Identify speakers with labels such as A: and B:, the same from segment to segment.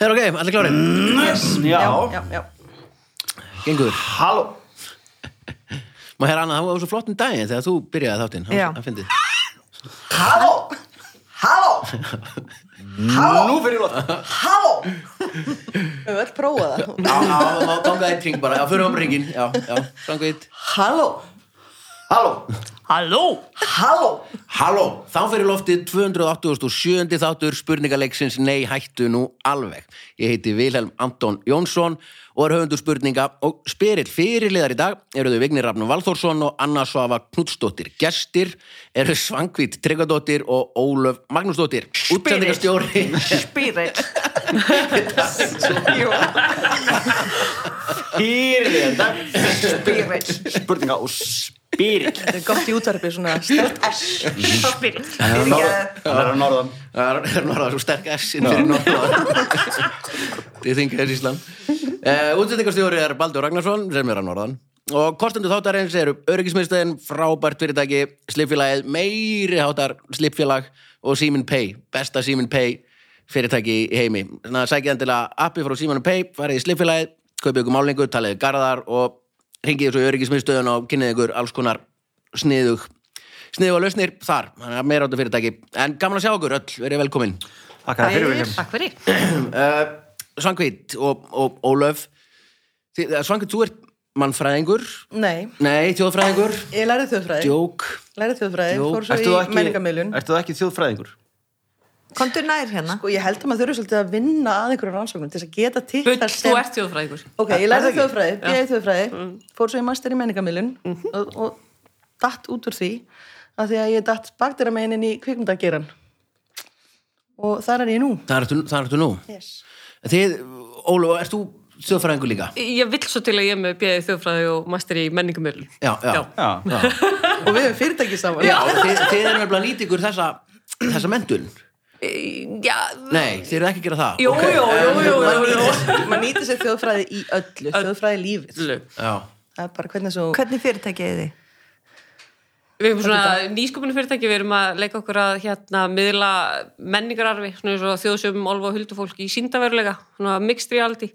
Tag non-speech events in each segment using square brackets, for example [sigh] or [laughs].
A: Þeir ok, allir klári
B: Já,
C: já, já.
A: Gengur
B: halló
A: Má hér annað, það var svo flottin daginn þegar þú byrjaði þáttinn
C: Já.
A: Hann- hann fyndi.
B: Halló Halló Halló Nú fyrir lótt Halló
C: Við höfum öll prófað
D: [laughs]
C: það.
A: Já, já, má ganga eitt ring bara Já, fyrir um ringin Já, já, ganga eitt
B: Halló Halló
C: Halló!
B: Halló
A: Halló, þá fyrir loftið 287. þáttur spurningaleiksins Nei, hættu nú alveg. Ég heiti Vilhelm Anton Jónsson og er höfundur spurninga og spyrill fyrirliðar í dag eru þau Vignir Rafnum Valþórsson og Anna Svava Knudsdóttir. Gestir eru Svangvít Tryggvadóttir og Ólöf Magnúsdóttir. Útsendingastjóri
C: Spyrill.
B: Fyrir þetta
C: Spyrill.
B: Spurninga og spyrill
C: Þetta er gott í útvarpið svona stert S. Spyrill.
B: Hann er á norðan
A: Það er- er norðar svo sterk S-in fyrir norðar Þið þingið þess Ísland uh, Útsendingastjóri er Baldur Ragnarsson sem er að norðan og kostendur þáttarins eru öryggismiðstæðin, frábært fyrirtæki slipfélagið, meiri hátar slipfélag og Simin Pay besta Simin Pay fyrirtæki í heimi þannig að sækja endilega appi frá Simin Pay farið í slipfélagið, kaupið ykkur málningu talið við garðar og ringið svo í öryggismiðstöðun og kynnið ykkur alls konar sniðug sniðu og lausnir þar, þannig að meira áttu fyrirtæki en gaman að sjá okkur öll, verið velkomin
B: Takk fyrir William
C: Takk fyrir.
A: uh, Svangvít og, og Ólöf Þið- eh, Svangvít, þú ert mannfræðingur
C: Nei,
A: nei, þjóðfræðingur,
C: ég lærði þjóðfræði.
A: djók
C: Lærði þjóðfræði,
A: Jú.
C: fór
B: Ertu
C: svo
B: þú
C: í menningamilun.
B: Ertu það ekki þjóðfræðingur?
D: Komdu nær hérna.
C: Sko, ég held að maður þurfi svolítið að vinna að einhverjum rannsóknum til þess að geta til
D: Bull, þú ert þjóðfræðingur.
C: Ok, ég lærði þjóðfræði, ég er þjóðfræði,
D: Mm.
C: fór svo í master í menningamilun
D: Mhm.
C: og, og datt út úr því af því að ég datt bakterameginin í kvikmyndageran og þar er ég nú.
A: það ertu, það ertu nú
C: Yes.
A: Þið, Ólöf, ert þú þjóðfræðingur líka?
E: Ég vill svo til að ég er með bjöðið þjóðfræði og master í menningamölu.
A: Já, já,
B: Já
C: og við hefum fyrirtæki saman.
A: já þið, þið eru nefnilega nýtingur þessa þessa mentun,
E: Já,
A: nei, þið eru ekki að gera það
E: jú, jú, jú, jú, jú, jú.
C: Man nýtir sér þjóðfræði í öllu, þjóðfræði lífið.
E: Öllu.
A: já,
C: Það er bara hvernig svo...
D: Hvernig fyrirtækið þið?
E: Við erum svona nýskupinu fyrirtæki, við erum að leika okkur að hérna miðla menningararfi, svona eins og þjóðsum, olfa og huldufólk í síndaveruleika, svona mixed reality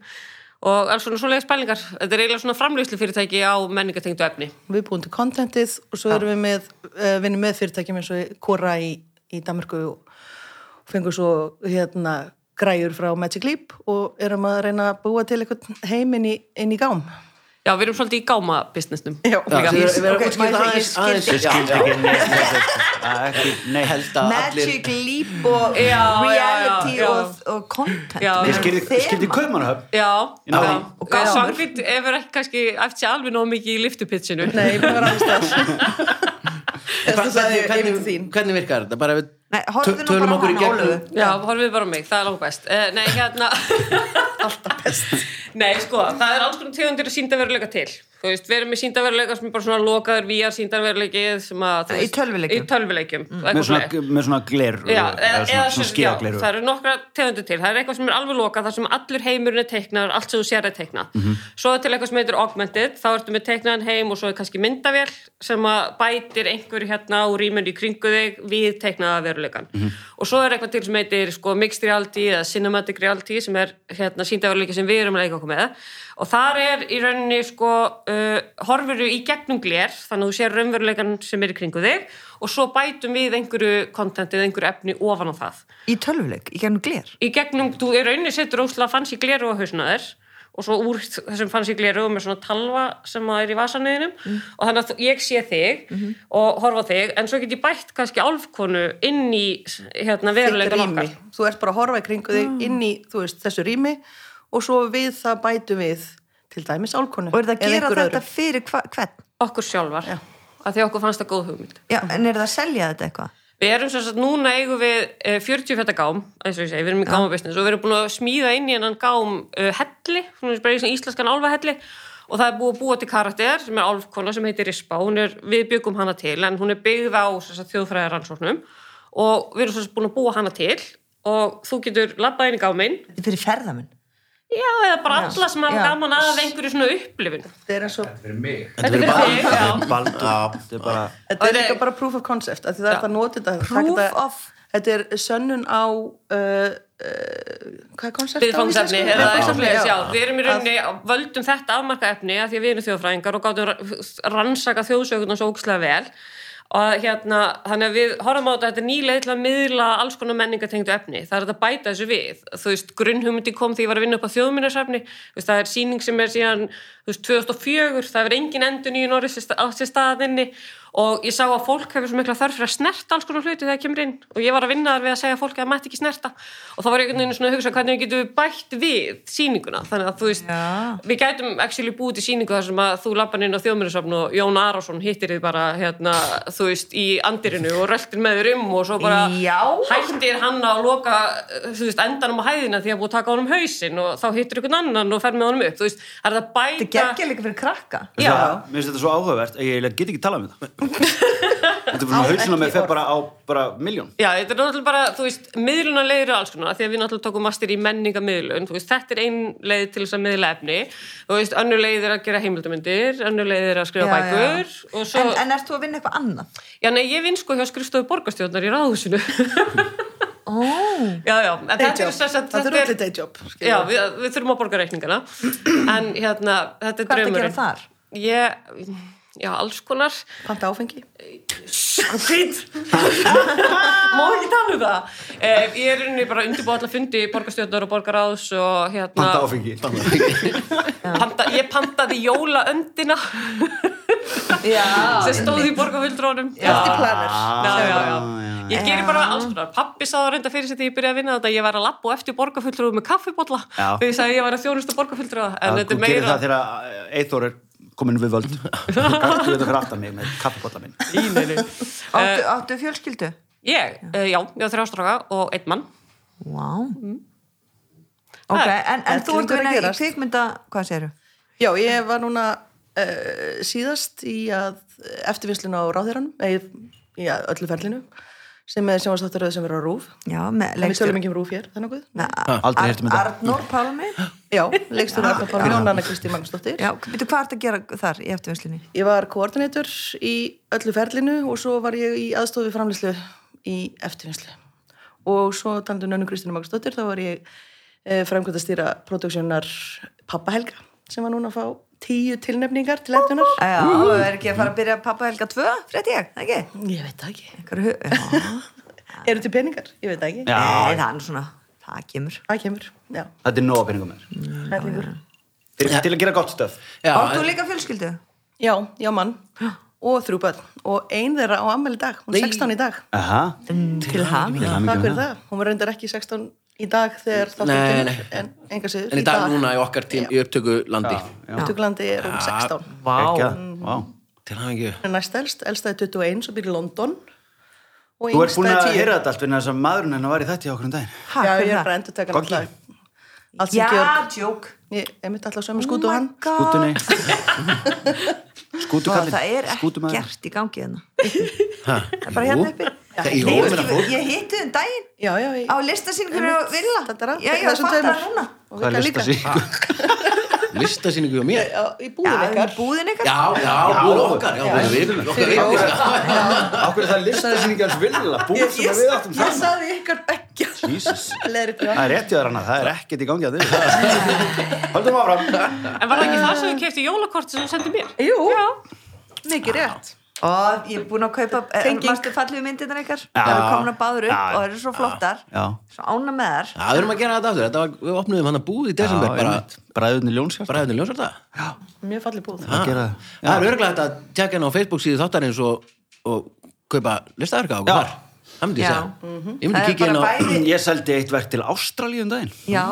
E: og alls svona svoleiðis pælingar. Þetta er eiginlega svona framlýslu fyrirtæki á menningatengdu efni.
C: Við búum til kontentið og svo erum við með, uh, vinnum með fyrirtækjum eins og Kora í, í Danmarku og fengum svo hérna græjur frá Magic Leap og erum að reyna að búa til eitthvað heim inn í, inn í gám.
E: Já, við erum svolítið í gáma-businessnum.
C: Já,
A: já þið eru- þið eru
C: Ok,
A: að útskýra
C: maður
A: það
C: segir,
A: aðeins,
C: ég skil-
A: aðeins já,
B: Skildi
A: já,
B: ekki neitt með þetta. Að ekki- Nei,
A: held að allir
D: Magic Leap og
E: Já, já,
D: reality
E: já, já.
D: og, og content.
E: Já.
D: Við
B: Ég
D: erum
B: skildi, skildi
D: þema.
B: Kaupmannahöfn
E: Já,
B: Ég náði
E: já.
B: því.
D: Og gámur.
E: Svangvít hefur ekki kannski eftir sér alveg nóg mikið í liftupitchinu.
C: Nei, ég var alveg stafs. Þess að
A: Hvernig-
C: sagði ég yfir
A: hvernig,
C: þín.
A: hvernig virkar þetta? Bara við
D: Nei, horfðu
A: tö-
D: nú
A: tölum
D: bara á
A: okkur í
D: hana,
A: gegnum
D: Ólöfu.
E: Já, horfum við bara á mig, það er langt best. Uh, nei, hérna... Alltaf best. Nei, sko, það er alls konar tegundir að síndaveruleika til. Þú veist, við erum með síndaveruleika sem er bara svona lokaður VR síndaveruleikið sem að... þú
D: Í
E: veist,
D: tölvuleikjum.
E: Í tölvuleikjum. Mm.
B: með svona, með svona gler
E: Já,
B: eða svona, svona
E: sem-
B: skíðagleru
E: já, það eru nokkra tegundir til það er eitthvað sem er alveg lokað, þar sem allur heimurinn er teiknaður allt sem þú sér er teiknað svo er til eitthvað sem heitir augmented, þá ertu með teiknaðan heim og svo er kannski myndavél sem að bætir einhverju hérna og rýmur í kringu þig við teiknaða veruleikan og svo er eitthvað til sem heitir sko, mixed reality eða cinematic reality sem er hérna síndaveruleika sem við erum að leika okkur með og þar er í rauninni sko, uh, horfuru í gegnum gler þannig að þú sér raunveruleikan sem er í kringu þig og svo bætum við einhverju kontentið, einhverju efni ofan á það.
D: Í tölvuleik, í gennum gler.
E: Í gegnum, þú er rauninni setur ósla fancy gleru á hausna þér og svo úr þessum fancy gleru og með svona talva sem að er í vasanniðinum
C: Mm.
E: og þannig að þú- ég sé þig
C: Mhm.
E: og horfa á þig en svo get ég bætt kannski álfkonu inn í hérna
C: Þitt
E: veruleika
C: rými.
E: okkar.
C: Þú ert bara að horfa í kringu þig inn í, þú veist, þessu rými og svo við það bætum við til dæmis álkonu.
D: Og er það
C: eða
D: að gera
C: einhverju
D: þetta fyrir hva, hvern?
E: Okkur sjálfar. Já. Að því að okkur fannst það góð hugmynd.
D: Já, en er það að selja þetta eitthvað?
E: Við erum sem sagt, núna eigum við eh, 40 fætta gám, eins og ég segi, við erum í gámabusiness og við erum búin að smíða inn í hennan gám uh, helli, svona bara í svona íslenskan álfahelli og það er búið að búa til karakter sem er álfkona sem heitir Rispa, hún er, við byggum hana til en hún er byggð á þjóðfræðaransóknum og við erum sem sagt, búin að búa hana til og þú getur labbað inn í gáminn,
D: Þetta er fyrir ferðamenn.
E: já, eða bara alla sem hafa
D: Já.
E: gaman að einhverju svona upplifun.
C: Þetta er eins og
E: Þetta er fyrir þig, já.
B: Baldur,
A: Já.
B: þetta er bara
C: Þetta er
E: Þetta er-
C: líka bara proof of concept af því það er
E: Já.
C: þetta að nota þetta
D: Proof
C: þetta,
D: of-
C: þetta er sönnun á uh, uh, hvað er koncept
E: viðfangsefni eða eitthvað
C: Viðfangsefni,
E: svoleiðis, já.
C: já.
E: við erum í rauninni, völdum þetta afmarka efni að því að við erum þjóðfræðingar og gátum ra- rannsaka þjóðsögurnar svo ókslega vel og hérna, þannig að við horfum á þetta, þetta er nýlega til að miðla alls konar menningatengdu efni, það er hægt að bæta þessu við þú veist, grunnhugmyndi kom því ég var að vinna upp á þjóðminnarsafni, þú veist, það er sýning sem er síðan, þú veist, 2004 það er engin endur nýjum orðið sér sta- á sér staðinni og ég sá að fólk hefur svo mikla þörf fyrir að snerta alls konar hluti þegar það kemur inn og ég var að vinna þar við að segja fólki að mætti ekki snerta og þá var ég einhvern veginn svona að hugsa hvernig getum við bætt við sýninguna þannig að þú veist,
D: Já.
E: við gætum actually búið til sýningu þar sem að þú lappan inn á þjóðmyndasafn og Jón Arason hittir þið bara hérna, þú veist, í andirinu og röltir með þér um og svo bara
D: Já.
E: hættir hann að loka þú veist, endanum á hæðina því að búið að taka honum hausinn og þá hittir ykkur annan og fer með honum upp þú veist, það er að
D: Þetta
E: bæta
D: geggja líka fyrir krakka.
E: Já.
B: Mér finnst þetta svo áhugavert að ég eiginlega get ekki talað um þetta. Þetta er bara
D: Á,
B: hausinn á mig
D: ekki
B: fer
D: orð.
B: bara á bara miljón.
E: Já, þetta er náttúrulega bara, þú veist, miðlunarlegir og alls konar, af því að við náttúrulega tókum master í menningamiðlun, þú veist, þetta er ein leið til þess að miðla efni, þú veist, önnur leið er að gera heimildamindir, önnur leið er að skrifa
D: Já,
E: bækur og svo,
D: En, en erst þú að vinna eitthvað annað?
E: já, nei, ég vinn sko hjá skrifstofu borgarstjórnar í ráðhúsinu.
D: [laughs] Ó,
E: já, já, en
C: Day
E: þetta
C: job.
E: er þess að
C: þetta er útlið dayjob
E: Já, við, við þurfum að borga reikningana, en hérna, þetta er
D: hvað ertu að
E: draumurinn.
D: gera þar?
E: Ég, já, alls konar.
C: panta áfengi
E: Sitt! [laughs] Má ekki tala um það? Eh, ég er í rauninni bara undirbúið alla fundi borgarstjórnar og borgaráðs og hérna...
B: Panta áfengi.
E: Panta, ég pantaði jólaöndina
D: Já.
E: sem stóð í borgarfulltrónum.
C: eftir planir
B: Ah,
E: Já, já, já.
B: já.
E: Ég geri bara alls konar. Pappi sagði reynda fyrir sér þegar ég byrjaði að vinna þetta ég var að labba og eftir borgarfulltrúið með kaffibólla
B: Já.
E: þegar ég sagði að ég var að þjónusta borgarfulltrúið en þetta
B: Þú gerir
E: er meira
B: það þegar Eithor er komin við völd. Þú gættu þetta fyrir aftan mig með kaffibotla minn.
E: líninu.
D: Áttu, áttu fjölskyldu?
E: Ég, eh, já, ég á þrjá stráka og einn mann.
D: Vá. Ok,
E: Það-
D: en, en
C: Þetta er
D: þú ert
C: lengur
D: að
C: að
D: vinna í
C: gerast.
D: kvikmynda, hvað segirðu?
C: Já, ég var núna uh, síðast í að eftirvinslun á ráðherranum, eða í að öllu ferlinu, sem er sjónvastáttaröð sem er á RÚF.
D: Já, með
C: En Við tölum
D: leikstjóri.
C: ekki um RÚF hér, það er nokkuð.
B: Aldrei heyrt um þetta.
D: Arnór Pálmi?
C: Já, leikstur Arna Pálmi og Nanna Kristín Magnúsdóttir.
D: Já, veitu hvað ertu að gera þar í eftirvinslunni?
C: Ég var koordinator í öllu ferlinu og svo var ég í aðstofi framlýslu í eftirvinnslu. Og svo tandur Nanna Kristín Magnúsdóttir, þá var ég uh, framkvæmt að stýra produksjónar Pappa Helga, sem var núna að fá tíu tilnefningar til eftirnar.
D: Eh, Já, það er ekki að fara að byrja pappa Helga 2, frétt ég, það ekki?
C: Ég veit það ekki.
D: Einhver hu- Já,
C: Eru til peningar? Ég veit það ekki.
B: Já.
D: Nei, það er nú svona, það kemur.
C: Það kemur, já.
B: Þetta er nóg að peningum með þér.
C: Hellingur.
B: Til til að gera gott stöf.
A: Já,
D: Áttu
A: en-
D: líka fjölskyldu?
C: Já, já mann. Og þrjú börn. Og ein þeirra á ammæli í dag. Hún
A: Nei.
C: er 16 í dag.
B: Aha.
D: Til ham.
B: Til hamingju
C: Takk
B: með
C: fyrir það. Hún var reyndar ekki 16 í dag þegar þá
A: Nei,
C: fyrir
A: nei.
C: En enga siður.
A: en í dag núna í okkar tím í upptöku landi
B: Já.
C: Tuglandi er hún 16.
B: Ekki
F: Vá,
B: að- Vá.
A: til hafingju
C: Hún er næst elst. Elsta er 21 svo byrja í London. Og
B: Þú ert búin
C: yngsta
B: að
C: er 10.
B: heyra þetta allt vegna þess að maðurinn hennar var í þetta hjá okkur um daginn.
D: Ha,
C: Já, ég
D: hver er
C: er
D: það?
C: bara endur tekan
B: Goggi.
C: alltaf. Allt sem
D: Já,
C: Georg.
D: djók.
C: Ég er mitt alltaf sömu
D: Oh
C: skútu og
D: my
C: hann.
D: god.
B: Skútunni.
D: Vá,
B: Skútukallin.
D: Það er ekki
B: Skútumaðurinn.
D: gert í gangi hérna. Það er bara hérna uppi.
A: Það-
D: Nei,
A: jú,
D: ég-
A: meina fólk.
D: Ég hitti þum daginn
C: Já, já, ég...
D: á listasýningunni á Villa.
C: Þetta er allt.
D: Já, ég
C: Þessum
D: fatt það
C: tveimur.
D: núna.
C: Og
B: Hvað er
C: Vika
B: lista
C: líka.
A: listasýningu hjá mér
C: Já, í
D: Já,
C: búðin
D: í
C: ykkar.
D: búðin ykkar.
A: Já, já, búið okkar, já, búið við, okkar við,
B: Akkur er það listasýningi hans vilja, búið sem að við áttum
C: Ég
B: saman.
C: saði ykkur beggja.
B: Jesus.
C: Leðri
B: Það er rétt hjá þér hana, það er ekkert í gangi að þig. Haldum áfram.
E: En var það ekki það sem þú kefti jólakort sem þú sendið mér?
C: Jú, mikið rétt.
D: Ó, ég er búin að kaupa, eh,
C: Tenging.
D: mástu fallið myndirnar ykkar. Það eru komin að báður upp
B: Já.
D: og það eru svo flottar.
B: Já.
D: Svo ána með þar.
A: Já, við erum að gera þetta aftur, þetta var, við opnum hann að búið í desember, bara,
B: Bræðunni ljónskjart.
A: bara hefðin ljósar það.
C: Mjög fallið búð.
B: Að gera það.
A: Það er örglega þetta að tjekka henni á Facebook síðu þáttarins og, og kaupa listaverka á
B: Já.
A: hvar. Það myndi ég
D: Já. mhm.
A: segja. Ég myndi
D: Það er
A: kíkja henni
D: bara
A: á...
D: bæði.
B: Ég seldi eitt verk til Ástralíu um daginn.
D: Já,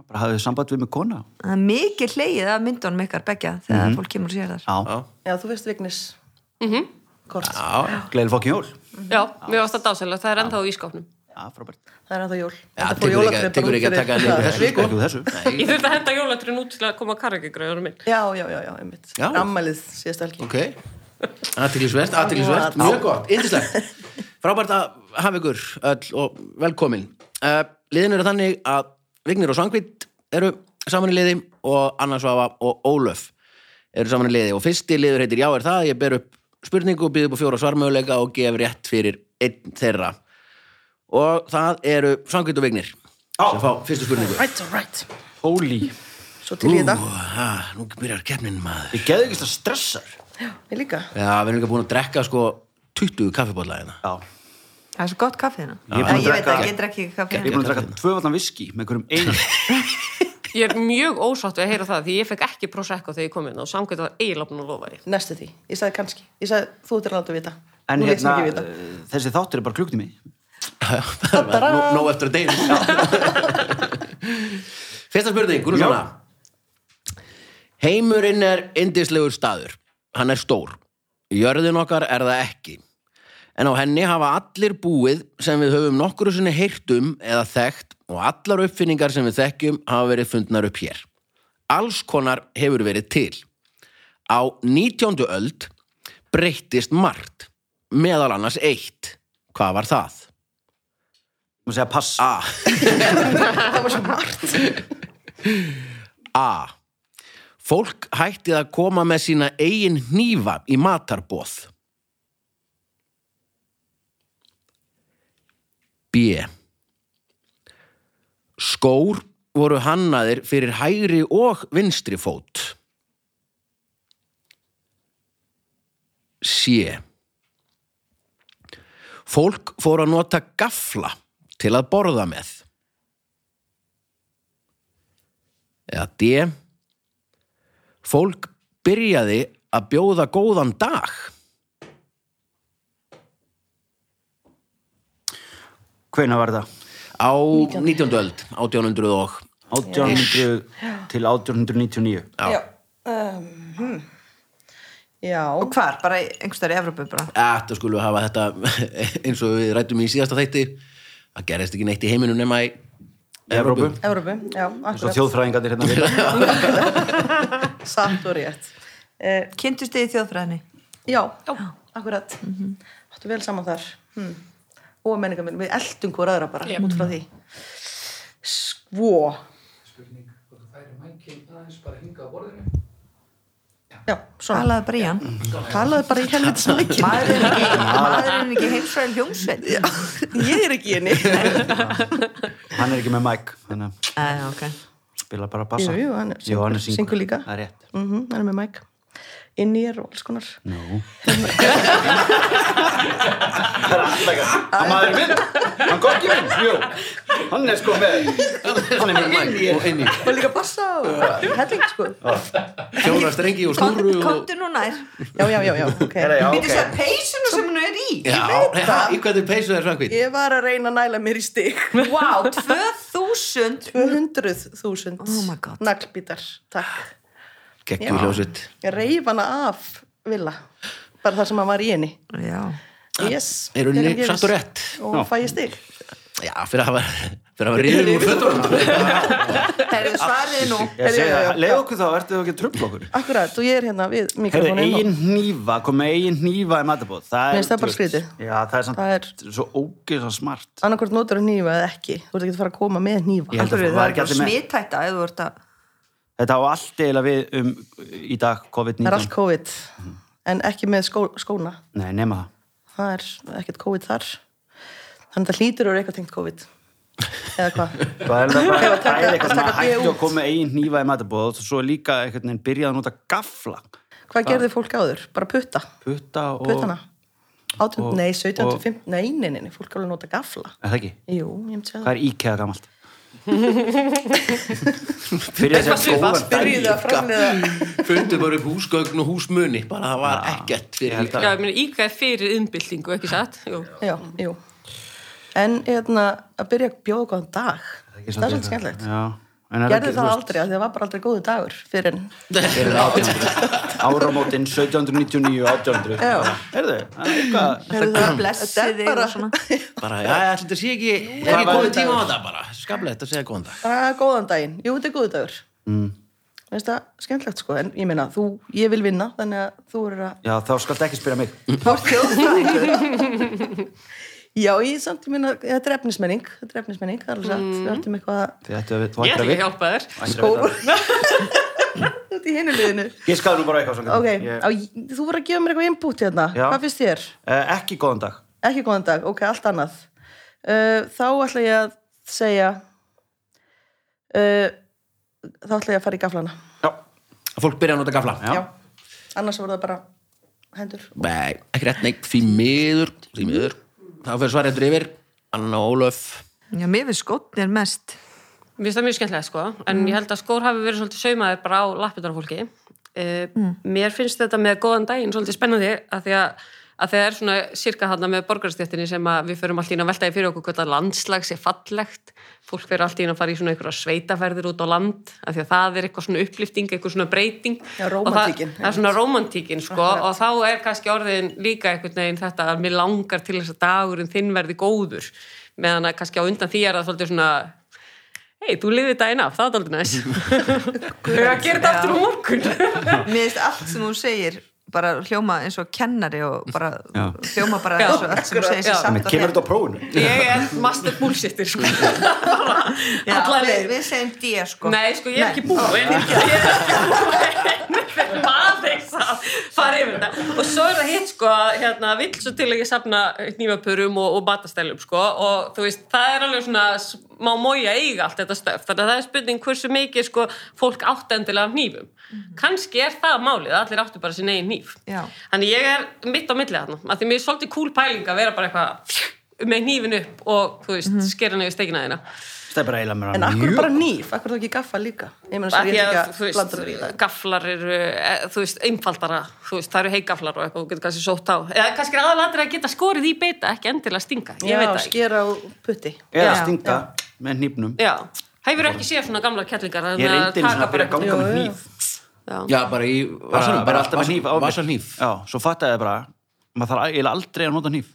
B: Það Bara hafði samband við mig kona.
D: það er mikið hleyið af myndunum ykkar begja þegar fólk kemur og sér þar.
B: Mhm. Já.
C: Já, þú veist Vignis.
D: Mhm.
C: Kort.
A: Já,
B: Gleil fokkin jól.
E: Já, mér varst það dásalegt, það er ennþá í skóknum.
B: Já, frábært.
C: Það er ennþá jól.
A: Já,
C: Þetta fór
A: tekur
C: jólatré
A: ekki-
C: bara
A: tekur
C: út
A: ekki að
C: fyrir-
A: taka niður
C: Já,
A: þessu,
C: viku.
B: Ekki úr þessu.
E: Ég þurfti að henda jólatrinn út til að koma karakigröður minn.
C: Já, já, já, já, einmitt.
A: Já.
C: Ammælið síðast helgi.
A: ok. Aðtiklisvert, aðtiklisvert,
C: Já.
A: mjög gott, yndislegt. Frábært að hafa ykkur öll og velkomin. Uh, liðin eru þannig að Vignir og Svangvitt eru saman í liði og Anna Svafa og Ólöf eru saman í liði og fyrsti liður heitir Já er það, ég ber upp spurningu og býð upp á fjóra svarmöguleika og gef rétt fyrir einn þeirra og það eru Svangvitt og Vignir sem fá fyrstu spurningu
C: Right, all right.
B: Holy.
C: Svo til ég
A: Ú,
C: þetta.
A: ha, nú byrjar keppnin maður
B: Ég geðu ekki að stressar.
C: Ég líka.
A: Já, við erum ekki búin að drekka sko 20 kaffibólla hérna
B: Já.
D: Það er svo gott kaffið hérna.
B: Ég er búin að
D: Ég, ég veit
B: drekka-
D: ekki, ég drekki ekki
B: Ég
D: kaffið
B: er
D: hérna.
B: búin að draka tvöfaldan viski með einhverjum einan.
E: Ég er mjög ósátt við að heyra það því ég fekk ekki prosecco þegar ég kom inn og samkvæmt var eiginlega búin að lofa því.
C: Næstu því. Ég sagði kannski. Ég sagði, þú ert að láta vita.
B: En
C: Þú lést
B: hérna,
C: mig ekki vita.
B: eh, þessi þáttur er bara klukktími.
C: Tadara.
A: Nó- Nóg eftir að deyna [laughs] Fyrsta spurning, hún er svona Heimurinn er indislegur staður Hann er stór Jörðin okkar er það ekki En á henni hafa allir búið sem við höfum nokkru sinni heyrt um eða þekkt og allar uppfinningar sem við þekkjum hafa verið fundnar upp hér. Alls konar hefur verið til. Á 19. öld breyttist margt, meðal annars eitt. Hvað var það?
B: Þú segja pass.
A: A.
C: Það var svo margt.
A: A. Fólk hættið að koma með sína eigin hnífa í matarboð. B. Skór voru hannaðir fyrir hægri og vinstri fót. C. Fólk fór að nota gafla til að borða með. eða D fólk byrjaði að bjóða góðan dag
B: Hvena var það?
A: á 19. öld 1800 og
B: 1800 til 1899.
C: Já. Um, hmm. Já.
D: Og hvar? Bara einhverstaðar í Evrópu bara.
A: þetta [laughs] skulum við hafa þetta eins og við rættum í síðasta þætti það gerðist ekki neitt í heiminum nema í Evrópu
B: Evrópu.
C: Evrópu, já,
B: Svo
C: akkurat.
B: þjóðfræðingarnir hérna við.
C: Satt og rétt. Eh,
D: Kynntust þið í þjóðfræðinni?
C: Já, já, akkurat Áttu vel saman þar hm. Og menningar minn, við eldum hvora aðra bara út frá því Svo Já, svona
D: Talaði bara í hann.
C: Talaðu bara í helvits mikið
D: Maður er hérna. ekki, maður er ekki heimsfræðin hljómsveit. Já.
C: [laughs] Ég er ekki í henni
B: Hann er ekki með mæk, þannig að
D: Uh, ok.
B: spila bara bassa.
C: Jú, jú, hann er syngur- syngur líka.
B: Það er rétt.
C: mm -hmm, Hann er með mæk Inn í er og alls konar
B: [laughs] Nú. Það er alltaf að maður minn, hann kokki minn, jú, hann er sko með, hann er með mæk.
A: og inn í
C: Og líka bassa og helling sko
A: fjóra strengi og snúru
D: Komdu,
A: og
D: komdu nú nær.
C: Já, já, já, já, ok
B: Herra, já,
D: Býtu sér
B: ok.
D: peysuna sem hún er í.
A: Já, í hvernig peysu það er svangvít
C: Ég var að reyna að næla mér í stig
D: Vá, 2000.
C: 200.000
D: Oh my God.
C: naglbítar, takk
A: Kekki hljóðsett
C: reif hana af Villa bara þar sem hann var í henni
D: Já.
C: yes,
A: Er unni
C: Þegar gerist.
A: satt og rétt
C: og fæ ég stig
A: Já, fyrir að hafa fyrir að hafa riðum úr fötunum
D: Herðu svarið nú.
B: Ég segi
C: Já, já, já.
B: það, leið okkur þá, ertu þá ekki að trubla okkur?
C: akkurat og ég er hérna við
B: Herðu,
C: mikrofonin
B: eigin hnífa, kom með eigin hnífa í matabóð. Það
C: Mér
B: er...
C: finnst það bara skrítið.
B: Já, það er samt
C: Það er-
B: svo ógeðslega smart.
C: og hérna. annarkvort notur nýfa eða ekki þú ert ekki að fara að koma með nýfa
B: Ég held að
D: Akkur,
B: það
D: það
B: var
D: er
B: ekki
D: bara
B: allir með.
D: smittætta ef þú ert að...
B: Þetta á allt eiginlega við um í dag COVID-19.
C: það er allt COVID en ekki með skó, skóna
B: Nei, nema það.
C: það er ekkert COVID þar þannig að það hlýtur og eitthvað tengt COVID eða
B: [laughs]
C: hvað
B: Hvað er það bara
C: Ef að
B: að
C: taka-
B: taka, eitthvað svona
C: taka
B: hætti
C: B
B: og
C: út.
B: koma með eigin hnífa í matabóð og svo líka einhvern veginn byrjaði að nota gafla.
C: hvað
B: Ah.
C: gerði fólk áður? bara putta,
B: Putta og...
C: puttana
B: og-
C: átund, nei, 17,
B: og-
C: 15, nei, nei, nei, nei fólk alveg nota gafla
B: Er það ekki?
C: jú, ég myndi segja
B: Hvað er IKEA
C: [laughs]
B: gamalt? Byrjaði að segja góðan
C: það byrjuðu að framlega
A: Fundu bara upp húsgögn og húsmuni bara það var ekkert
B: Ég
A: fyrir
B: held
A: líka
E: Já, ég meina, íka er fyrir innbyltingu, ekki satt? Jú.
C: Já, jú. En hérna, að byrja að bjóða góðan dag,
B: Ekki
C: það er svolítið skemmtilegt.
B: Já. En er
C: Gerði
B: ekki,
C: það
B: þú
C: aldrei, af því það var bara aldrei góðu dagur fyrir en...
B: fyrir áramótin 1799 1800
C: Já.
B: Heyrðu, það er eitthvað
C: Heyrðu,
D: Guð
C: það-
D: blessi
C: þetta er
D: þig og
C: bara- [laughs]
D: svona.
A: bara, já, ég ætla þetta sé ekki er
B: það
A: ekki
B: var-
A: komið tíma á þetta bara skaplega að segja góðan dag
C: Bara góðan daginn, jú, þetta er góðu dagur. Mm. Veist það, skemmtilegt sko, en ég meina, þú, ég vil vinna, þannig að þú eru að...
B: Já, þá skalt ekki spyrja mig
D: Þú ert þjóðfræðingur.
C: [laughs] Já, ég samt, ég meina, þetta er efnismenning, þetta er efnismenning, það er alveg satt, við ættum eitthvað að...
B: Þið ættu að við- Þú ættir að
E: Ég ætla ekki að
B: við
E: hjálpa þér.
B: ættir að við það.
C: [laughs] Þú ert í hinu liðinu.
B: Ég skaði nú bara eitthvað svona
C: Ok,
B: Ég-
C: á, ég- þú voru að gefa mér eitthvað input hérna,
B: Já.
C: hvað finnst þér?
B: Eh, Ekki góðan dag
C: Ekki góðan dag, ok, allt annað. Uh, þá ætla ég að segja, uh, þá ætla ég að fara í gaflana
B: Já,
A: Að fólk byrja að nota gafla
B: já.
C: annars voru það bara hendur
A: Nei, ekki rétt, nei, því miður Því miður, þá fyrir svarendur yfir Anna Ólöf
D: Já, mér finnst skotnir mest.
E: Mér finnst það mjög skemmtilega sko, en
C: Mm.
E: ég held að skór hafi verið svolítið saumaðir bara á lappindan á fólki. Uh,
C: Mm.
E: Mér finnst þetta með góðan daginn svolítið spennandi að því að, að það er svona sirka hana með borgarstjættinni sem að við förum allt í einu að veltaði fyrir okkur hvort að landslags er fallegt, fólk fyrir allt í einu að fara í svona einhverja sveitaferðir út á land, af því að það er eitthvað svona upplifting, eitthvað svona breyting.
C: Já,
E: Og
C: rómantíkin.
E: Það, það er svona rómantíkin sko og þá er kannski orðin líka einhvern veginn þetta að mér langar til þess að dagurinn þinn verði góður meðan að kannski á undan því er það svolítið svona hei, þú lifið daginn af, það er aldrei [laughs] næst Þau eru að gera þetta aftur á morgun
D: Mér finnst allt sem hún segir bara hljóma eins og kennari og bara
B: Já.
D: hljóma bara
E: Já,
D: eins og allt sem hún segir
E: já.
D: sér samt
B: Þannig kemur þetta á prófunu
E: Ég er master bullshitter [laughs] sko
D: Já,
E: Alla
D: við,
E: leið
D: við segjum D sko.
E: Nei, sko, ég er ekki búin Ég er ekki búin Fyrir aðeins að fara yfir þetta Og svo er það hitt, sko, að hérna, vill svo til að ég safna nýmapurum og, og batastælum, sko Og þú veist, það er alveg svona smá mója eiga allt þetta stöf Þannig að það er spurning hversu mikið, sko, fólk átt endilega af nýfum Kannski er það málið, að allir áttu bara sín eigin nýf
D: Já.
E: Þannig ég er mitt á millið þarna að Því mér er svolítið kúl pæling að vera bara eitthvað með hnífin upp og, þú veist, mm -hmm. skera nefnir steikina þeirna.
B: Það er bara eiginlega mér
C: en akkur bara nýf, akkur þá ekki gaffa líka ég meina
E: Af
C: svo
E: því
C: ég er
E: að, þú
C: ekki að blanda mér í
E: veist,
C: það
E: gaflar eru, eh, þú veist, einfaldara, þú veist, það eru heigaflar og eitthvað, þú getur kannski sótt á. Eða kannski er aðalatrið að geta skorið í beita, ekki endilega stinga, ég
C: já,
E: veit það ekki.
C: skera á putti
B: Eða
D: Já,
B: stinga með hnífnum
E: Já, hefur ekki séð svona gamla kettlingar,
B: Ég reyndi eins og að byrja að ganga
C: Jú,
B: með
C: jú.
B: hníf
E: Já,
A: Já, bara í
B: Vassanum, bara alltaf með
A: vas-
B: hníf á mér.
A: Vasalhníf
B: Já, svo fattaði ég bara Maður þarf eiginlega aldrei að nota hníf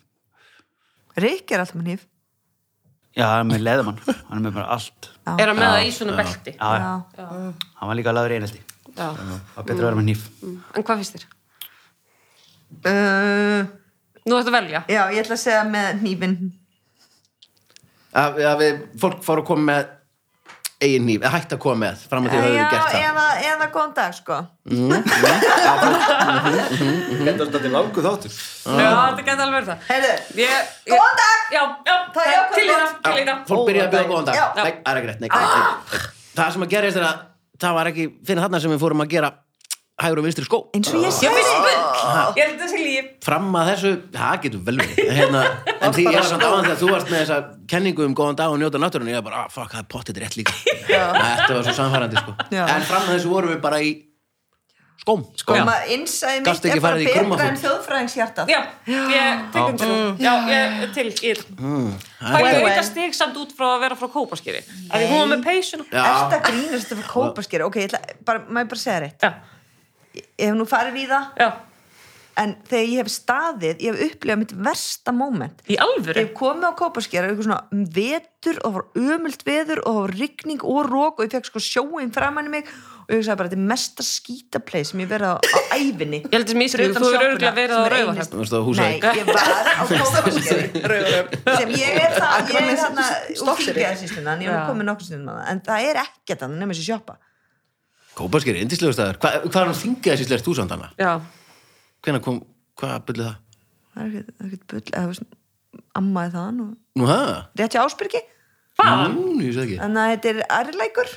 D: Rík er alltaf með nýf.
B: Já, hann er með leðamann Hann er með bara allt
E: er að með það í svona belti.
B: Já, já. hann var líka laður í einhaldi
E: Já.
B: Það var betra að vera með hníf
E: En hvað finnst þér?
D: Uh,
E: Nú ættu að velja.
D: já, ég ætla að segja með nýfin.
A: Að, að við, fólk fór að koma með eigin hníf, eða hægt að koma með fram að því að
D: Já,
A: höfðu gert það
D: eða, eða góðan dag sko.
B: Þetta var þetta langu þáttur
E: Já, þetta gæti alveg verið það.
D: Heyrðu,
E: Ég- ég-
D: Góðan dag!
E: Já, já,
D: Það er jákvætt
E: til hérna,
D: gott.
E: til
A: Já,
E: hérna.
A: fólk byrjaði að bjóða góðan dag
D: Já. Ah.
A: Nei, það er ekki rétt, nei, nei, nei. það sem að gerist er að það var ekki fyrir þarna sem við fórum að gera hægur og vinstri skó
D: eins og ég
E: Ég
D: segi.
E: finnst bull, ég held þessi líf.
A: fram að þessu, það getur vel verið
D: [laughs]
A: hérna, en því ég var samt áðan þegar þú varst með þessa kenningu um góðan dag og njóta náttúrunni ég var bara, ah, fuck, það er pottet rétt
D: [laughs]
A: líka þetta var svo samfærandi sko.
D: Já.
A: en fram að þessu vorum við bara í skóm,
D: Og
A: skóm.
D: maður innsæði um mitt
A: Gastu ekki
D: er bara
A: farið í
D: betra
A: krummafót?
D: en þjóðfræðings hjartað.
E: Já, ég tek um til hún. Já, ég til, ég Það
C: Well,
E: er
C: well.
E: auka stig samt út frá að vera frá kópaskýri. Af því hún var með peysuna.
A: Já.
D: Ersta grínast að fyrir kópaskeri. Ok, ég ætla, bara, maður bara segja rétt.
E: Já,
D: Ég hef nú farið í það,
E: já.
D: en þegar ég hef staðið, ég hef upplifað mitt versta moment.
E: Í alvöru?
D: Ég hef komið á kópaskeri, eitthvað svona um vetur og það var ömult veður og það var rigning og rók og ég fekk sko sjóin framann í mig og ég hugsaði bara, þetta er mesta skítaplay sem ég hef verið á, á ævinni.
E: Ég held þessi miskilið,
D: Fyrir utan
E: þú hefur
D: sjoppuna,
E: örugglega verið á
D: sem er
E: Raufarhöfn.
D: einasta-
A: Þú varst á Húsavík.
D: Nei, ég var
E: [laughs]
D: á Kópaskeri sem ég er það, ég er þarna úr
C: Stokkseyri.
D: fylgjaðarsýslunan, ég
E: Já.
D: hef komið nokkur sinum en það er ekkert þannig nema þessi sjoppa
A: kópaskeri, indislegu staðar Hva, hvað er hann þingið þessi slert þú samt hana?
E: Já.
A: hvenær kom, hvað byrði það?
D: það er ekkert- það er ekkert bull eða, þú veist, ammaði þann og
A: Nú hæ?
D: rétt hjá Ásbyrgi Ah.
A: Nú, ég sé ekki
D: þannig að þetta er ærlækur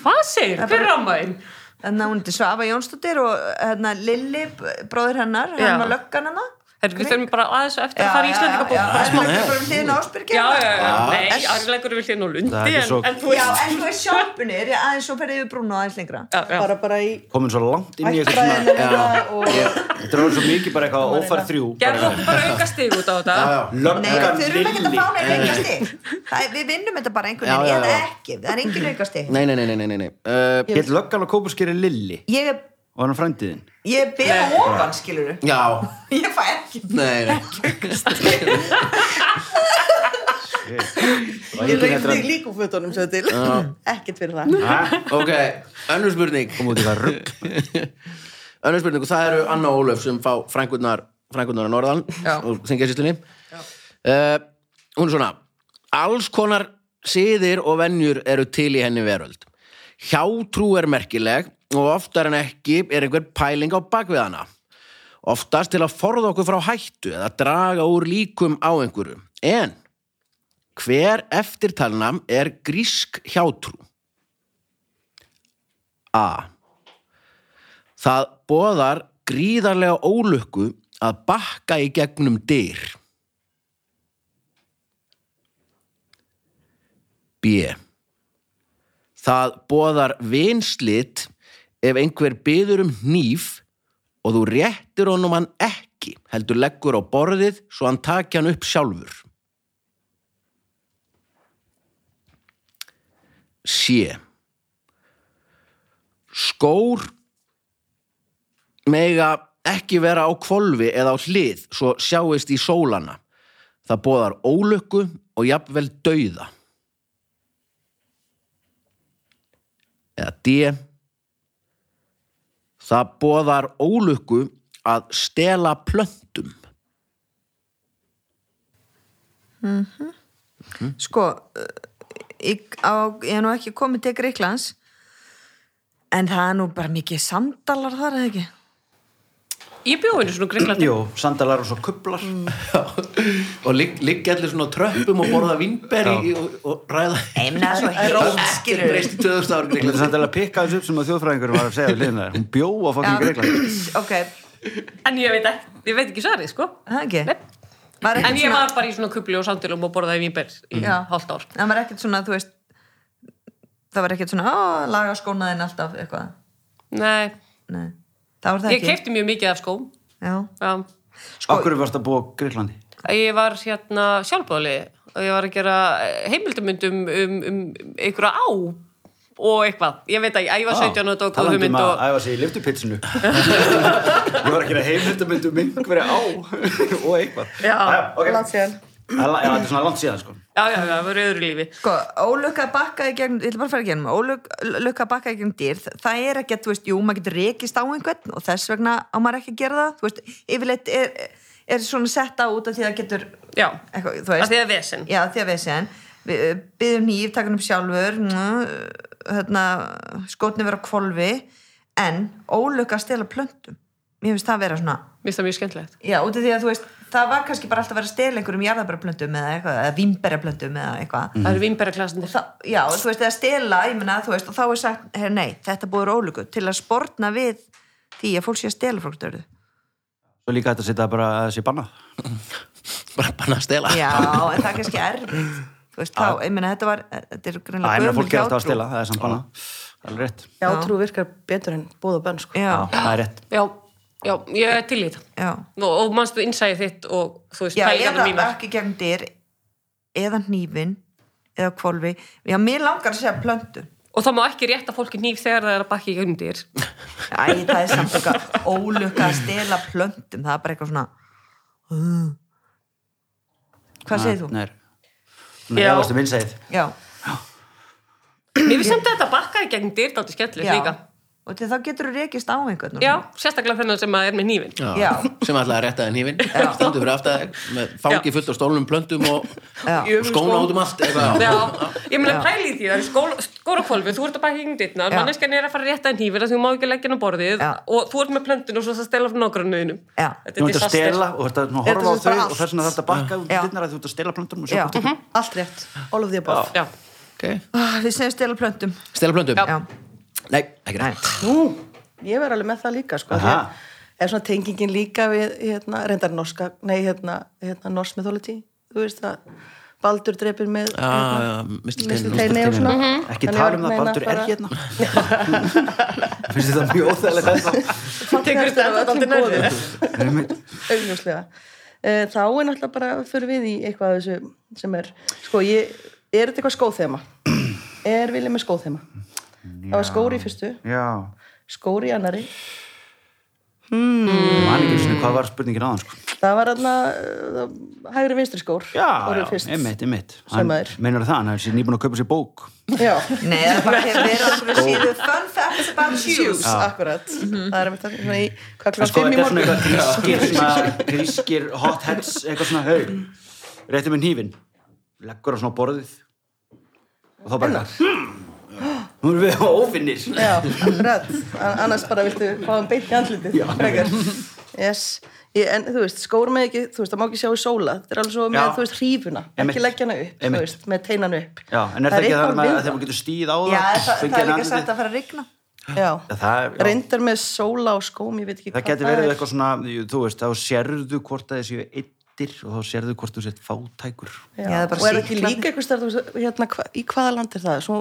E: Hvað segir? Hver er ammaðinn?
D: þannig að hún heitir Svava Jónsdóttir og hérna, Lilli, bróður hennar
E: Já.
D: hann var löggan hennar
E: Herru, við þurfum bara aðeins og eftir að fara í Íslandika bók.
D: Það er bara um hliðin á Ásbyrgi
E: Já, já, já.
A: Já.
E: Nei, aðrilegur vil hérna á
B: Það
E: Lundi,
B: er ekki
E: en,
B: svo-
E: en þú
D: Já,
E: veist...
D: en þú veist sjoppunir, já, aðeins svo ferðið við brúna aðeins lengra
E: Já, já.
C: bara bara í
B: Komin svo langt inn í eitthvað svona
C: ættfræðilega og
B: Þetta var svo mikið bara eitthvað ófar þrjú
E: Gerðu okkur bara auka stig út á þetta.
D: Nei, þau eru ekkert að
B: Löggan
D: fá neina aukastig Það er- Við vinnum þetta bara einhvern
A: Já, já,
D: veginn
A: já.
D: eða ekki, það er engin aukastig
A: nei, nei, nei, nei, nei, nei, nei. Uh,
B: Hitt löggan á kópaskeri Lilli
D: Ég er
B: og hann frændiðin
D: Ég er beða ofan, skilur
A: já,
D: [laughs] Ég fæ ekki
A: nei, nei
C: ég reyndi þig líka úr fötunum svo til [laughs] ekkert fyrir það
B: Kom
A: ok, önnur spurning
B: út í það rugg
A: önnur spurning og það eru Anna og Ólöf sem fá frængunar frængunar að norðan
D: Já.
A: og þingjæðsýslinni uh, hún er svona alls konar siðir og venjur eru til í henni veröld hjátrú er merkileg og oftar en ekki er einhver pæling á bakvið hana oftast til að forða okkur frá hættu eða draga úr líkum á einhverju en Hver eftirtalnam er grísk hjátrú? A. Það boðar gríðarlega ólukku að bakka í gegnum dyr. B. Það boðar vinslit ef einhver byður um hníf og þú réttir honum hann ekki, heldur leggur á borðið svo hann taki hann upp sjálfur. C. Skór mega ekki vera á kvolfi eða á hlið svo sjáist í sólana. Það boðar ólukku og jafnvel dauða. Eða D. Það boðar ólukku að stela plöntum.
D: sko eh, ég, á, ég hef nú ekki komið til Greiklands en það er nú bara mikið sandalar þar eða ekki
E: Ég bjóði henni svona gringlandi.
B: Jú, sandalar og svo kublar
A: og ligg- liggja allir svona á tröppum og borða vinnberi og, og ræða
D: Nei, ég meina það er svo heitt
A: Ekkert
D: skilur
A: breyst í 2000 ári
B: Ég
A: Gríkland.
B: myndi samt alveg að pikka þessu upp sem að þjóðfræðingur var að segja við liðna þér. Hún bjó á fokkin Greikland.
D: ok,
E: En ég veit ekki, ég veit ekki svarið, sko.
D: það er ekki
E: Nei. En
D: var ekkert
E: ég
D: svona
E: var bara í svona kubli og sandilum og borðaði vínber í
D: Já.
E: hálft ár.
D: það var ekkert svona, þú veist það var ekkert svona, ó, laga skónaðin alltaf eitthvað,
E: Nei,
D: nei það var það
E: ég
D: ekki
E: keipti mjög mikið af skóm.
D: Já.
E: Já.
B: Sko, Akkur varst að búa á Greiklandi?
E: Ég var hérna sjálfbóðli og ég var að gera heimildamundum um, um, um einhverja á og eitthvað. Ég veit að ég var 17 og þetta var góð
B: Talandi um
E: hugmynd
B: að
E: og...
B: æfa sig í liftupitsinu. Ég var ekki að heimildamöndu um einhverja á og eitthvað.
E: Já.
B: Jæja, ok.
D: Langt síðan.
B: Það er la- já, þetta er svona langt síðan, sko.
E: Já, já, já, það var í öðru lífi.
D: Sko, ólukka að bakka í gegnum, ég ætla bara að fara í gegnum, ólukka að bakka í gegnum dýr, þa- það er ekki að, þú veist, jú, maður getur rekist á einhvern og þess vegna á maður ekki að gera það, þú veist, yfirleitt er, er svona sett á út af því að það getur,
E: Já,
D: eitthvað, þú
E: að
D: veist,
E: því að vesen.
D: já, því að við séðan, við eh, biðjum nýjum, takum upp sjálfur, mm, hérna, skotnum vera á kvolfi, en ólukka að stela plöntum, mér finnst það vera svona,
E: Mér finnst það mjög skemmtilegt.
D: já, út af því að, þú veist, það var kannski bara alltaf að vera að stela einhverjum jarðabæraplöntum eða eitthvað, eða vínbæraplöntum eða eitthvað,
E: Það eru vínberaklasindir.
D: Þa, já, þú veist, eða stela, ég meina, þú veist, og þá er sagt, her, nei, þetta búður ólíku til að sportna við því að fólk sé að stela frá dörðu.
B: Svo líka hægt að setja bara að sé bannað.
A: bara bara að stela
D: Já, en það er kannski erfitt. Þú veist, þá, ég meina, þetta var, e, þetta er
B: Það
D: greinlega
B: er mér að fólk er alltaf að stela, það er samt bannað. Það er rétt.
C: Já, trú virkar betur en bóð og bönn, sko.
D: Já,
B: Já, það er rétt.
E: Já, já, ég er til í þetta.
D: já.
E: Og, og manstu innsæði þitt og þú veist,
D: Já,
E: pælingarnar
D: eða
E: mínar.
D: ekki gegn dyr, eða hnífin, eða kvolfi. Já, mér langar að segja plöntu.
E: Og það má ekki rétta fólki nýf þegar það er að bakki í undir.
D: Æ, það er samt eitthvað ólukka að stela plöntum, það er bara eitthvað svona... Uh. Hvað segir þú?
B: Nei, Nei,
E: Já.
B: það varst um innsæðið.
D: Já,
E: Mér finnst samt að þetta bakka í gegn dyr, þáttu skemmtilegt
D: já.
E: líka.
D: Og til þá getur þú rekist á einhvern. og
E: Já, sérstaklega þennan sem að er með nýfin.
D: Já.
A: sem ætlaði að rétta þenn hífin stundu fyrir aftar með fangi fullt á stólnum plöntum og
D: Já.
A: og skóna út um allt eitthvað.
E: Já, ég meina pæli í því, það er skóla, skólakvolfi, þú ert að baka í gegn dyrnar,
D: Já.
E: manneskjan er að fara rétt að nýfin að þú má ekki leggja hann á borðið
D: Já.
E: og þú ert með plöndin og svo það stela frá nágrannuðinum.
D: Já.
E: Þetta
B: Þú ert að
E: er disaster.
B: stela og þú ert að svona
D: Þetta
B: horfa á
D: er
B: þau
D: bara allt.
B: og þess vegna þarf þetta að bakka út
D: Já.
B: dinnar að þú ert að stela plöntunum og sjá
D: Já.
B: hvort þú
C: Allt rétt. All of the above.
E: Já,
A: okay.
D: Ah, Við segjum stela plöntum
A: stela plöntum
E: Já.
D: Já,
A: nei, ekki rétt
C: Nú, ég verð alveg með það líka sko,
B: Aha.
C: því að er svona tengingin líka við hérna, reyndar norska, nei hérna, hérna norsk mythology, þú veist að Baldur drepir með
A: Já, já, Mr. Steini.
C: Mr. Steini og svona
B: ekki
C: Þannig
B: tala
C: ég
B: um
C: var
B: það,
C: að
B: Baldur
C: meina
B: er
C: bara-
B: hérna [laughs] finnst þetta mjög óþægilegt hérna? ennþá.
E: Tekur
C: Fallegast af
E: þetta
C: öllum
E: dálítið nærri
C: goðum,
E: þér.
C: augljóslega Eh, þá er náttúrulega bara fyrir við í eitthvað af þessu sem er sko, ég, er þetta eitthvað skóðþema? er vilja með skóðþema? það var skóri í fyrstu,
B: já,
C: skóri í annari
B: ég man ekki einu sinni hvað var spurningin aðan sko.
C: það var alltaf hægri vinstri skór
B: já,
C: orðið
B: já,
C: fyrst.
B: einmitt, einmitt
C: Sem
B: Hann-
C: maður.
B: meinar það, hann er sér nýbúin að kaupa sér bók
C: [laughs] Já,
D: nei, það er bara hefur verið að við séðu fun facts about shoes
C: shoes, akkurat Það er einmitt þannig, svona í, hvað
B: en
C: klart
B: sko,
C: fimm í
B: þetta er svona
C: morgun
B: eitthvað grískir svona, grískir hot heads eitthvað svona hög, rétti með hnífin leggur á svona borðið og þá bara hmm, nú erum við ófinnir
C: Já, akkurat An- Annars bara viltu fá hann beint í andlitið frekar. yes. Ég, en þú veist, skór með ekki, þú veist, það má ekki sjá í sóla þetta er alveg svo með,
B: Já.
C: þú veist, hrífuna
B: Einmitt.
C: ekki leggja hana upp,
B: Einmitt.
C: þú veist, með teinan upp
B: Já, en er það ekki það
C: eitthvað
B: með
C: við
B: að þegar maður getur stíð á það
D: Já, það, það
B: fengið
D: er
B: hann
D: líka
B: andlitið?
D: sagt að fara að rigna
C: já,
B: Já, það er- já.
C: reyndar með sóla og skóm, ég veit ekki
B: Það getur verið eitthvað svona, jú, þú veist, þá sérðu hvort að þessi við eittir og þá sérðu hvort þú sett fátækur.
C: Já,
D: Já, það er bara
C: og er ekki
D: sýklandi.
C: líka eitthvað stærð, þú veist, hérna, hva, í hvaða land er það? Svo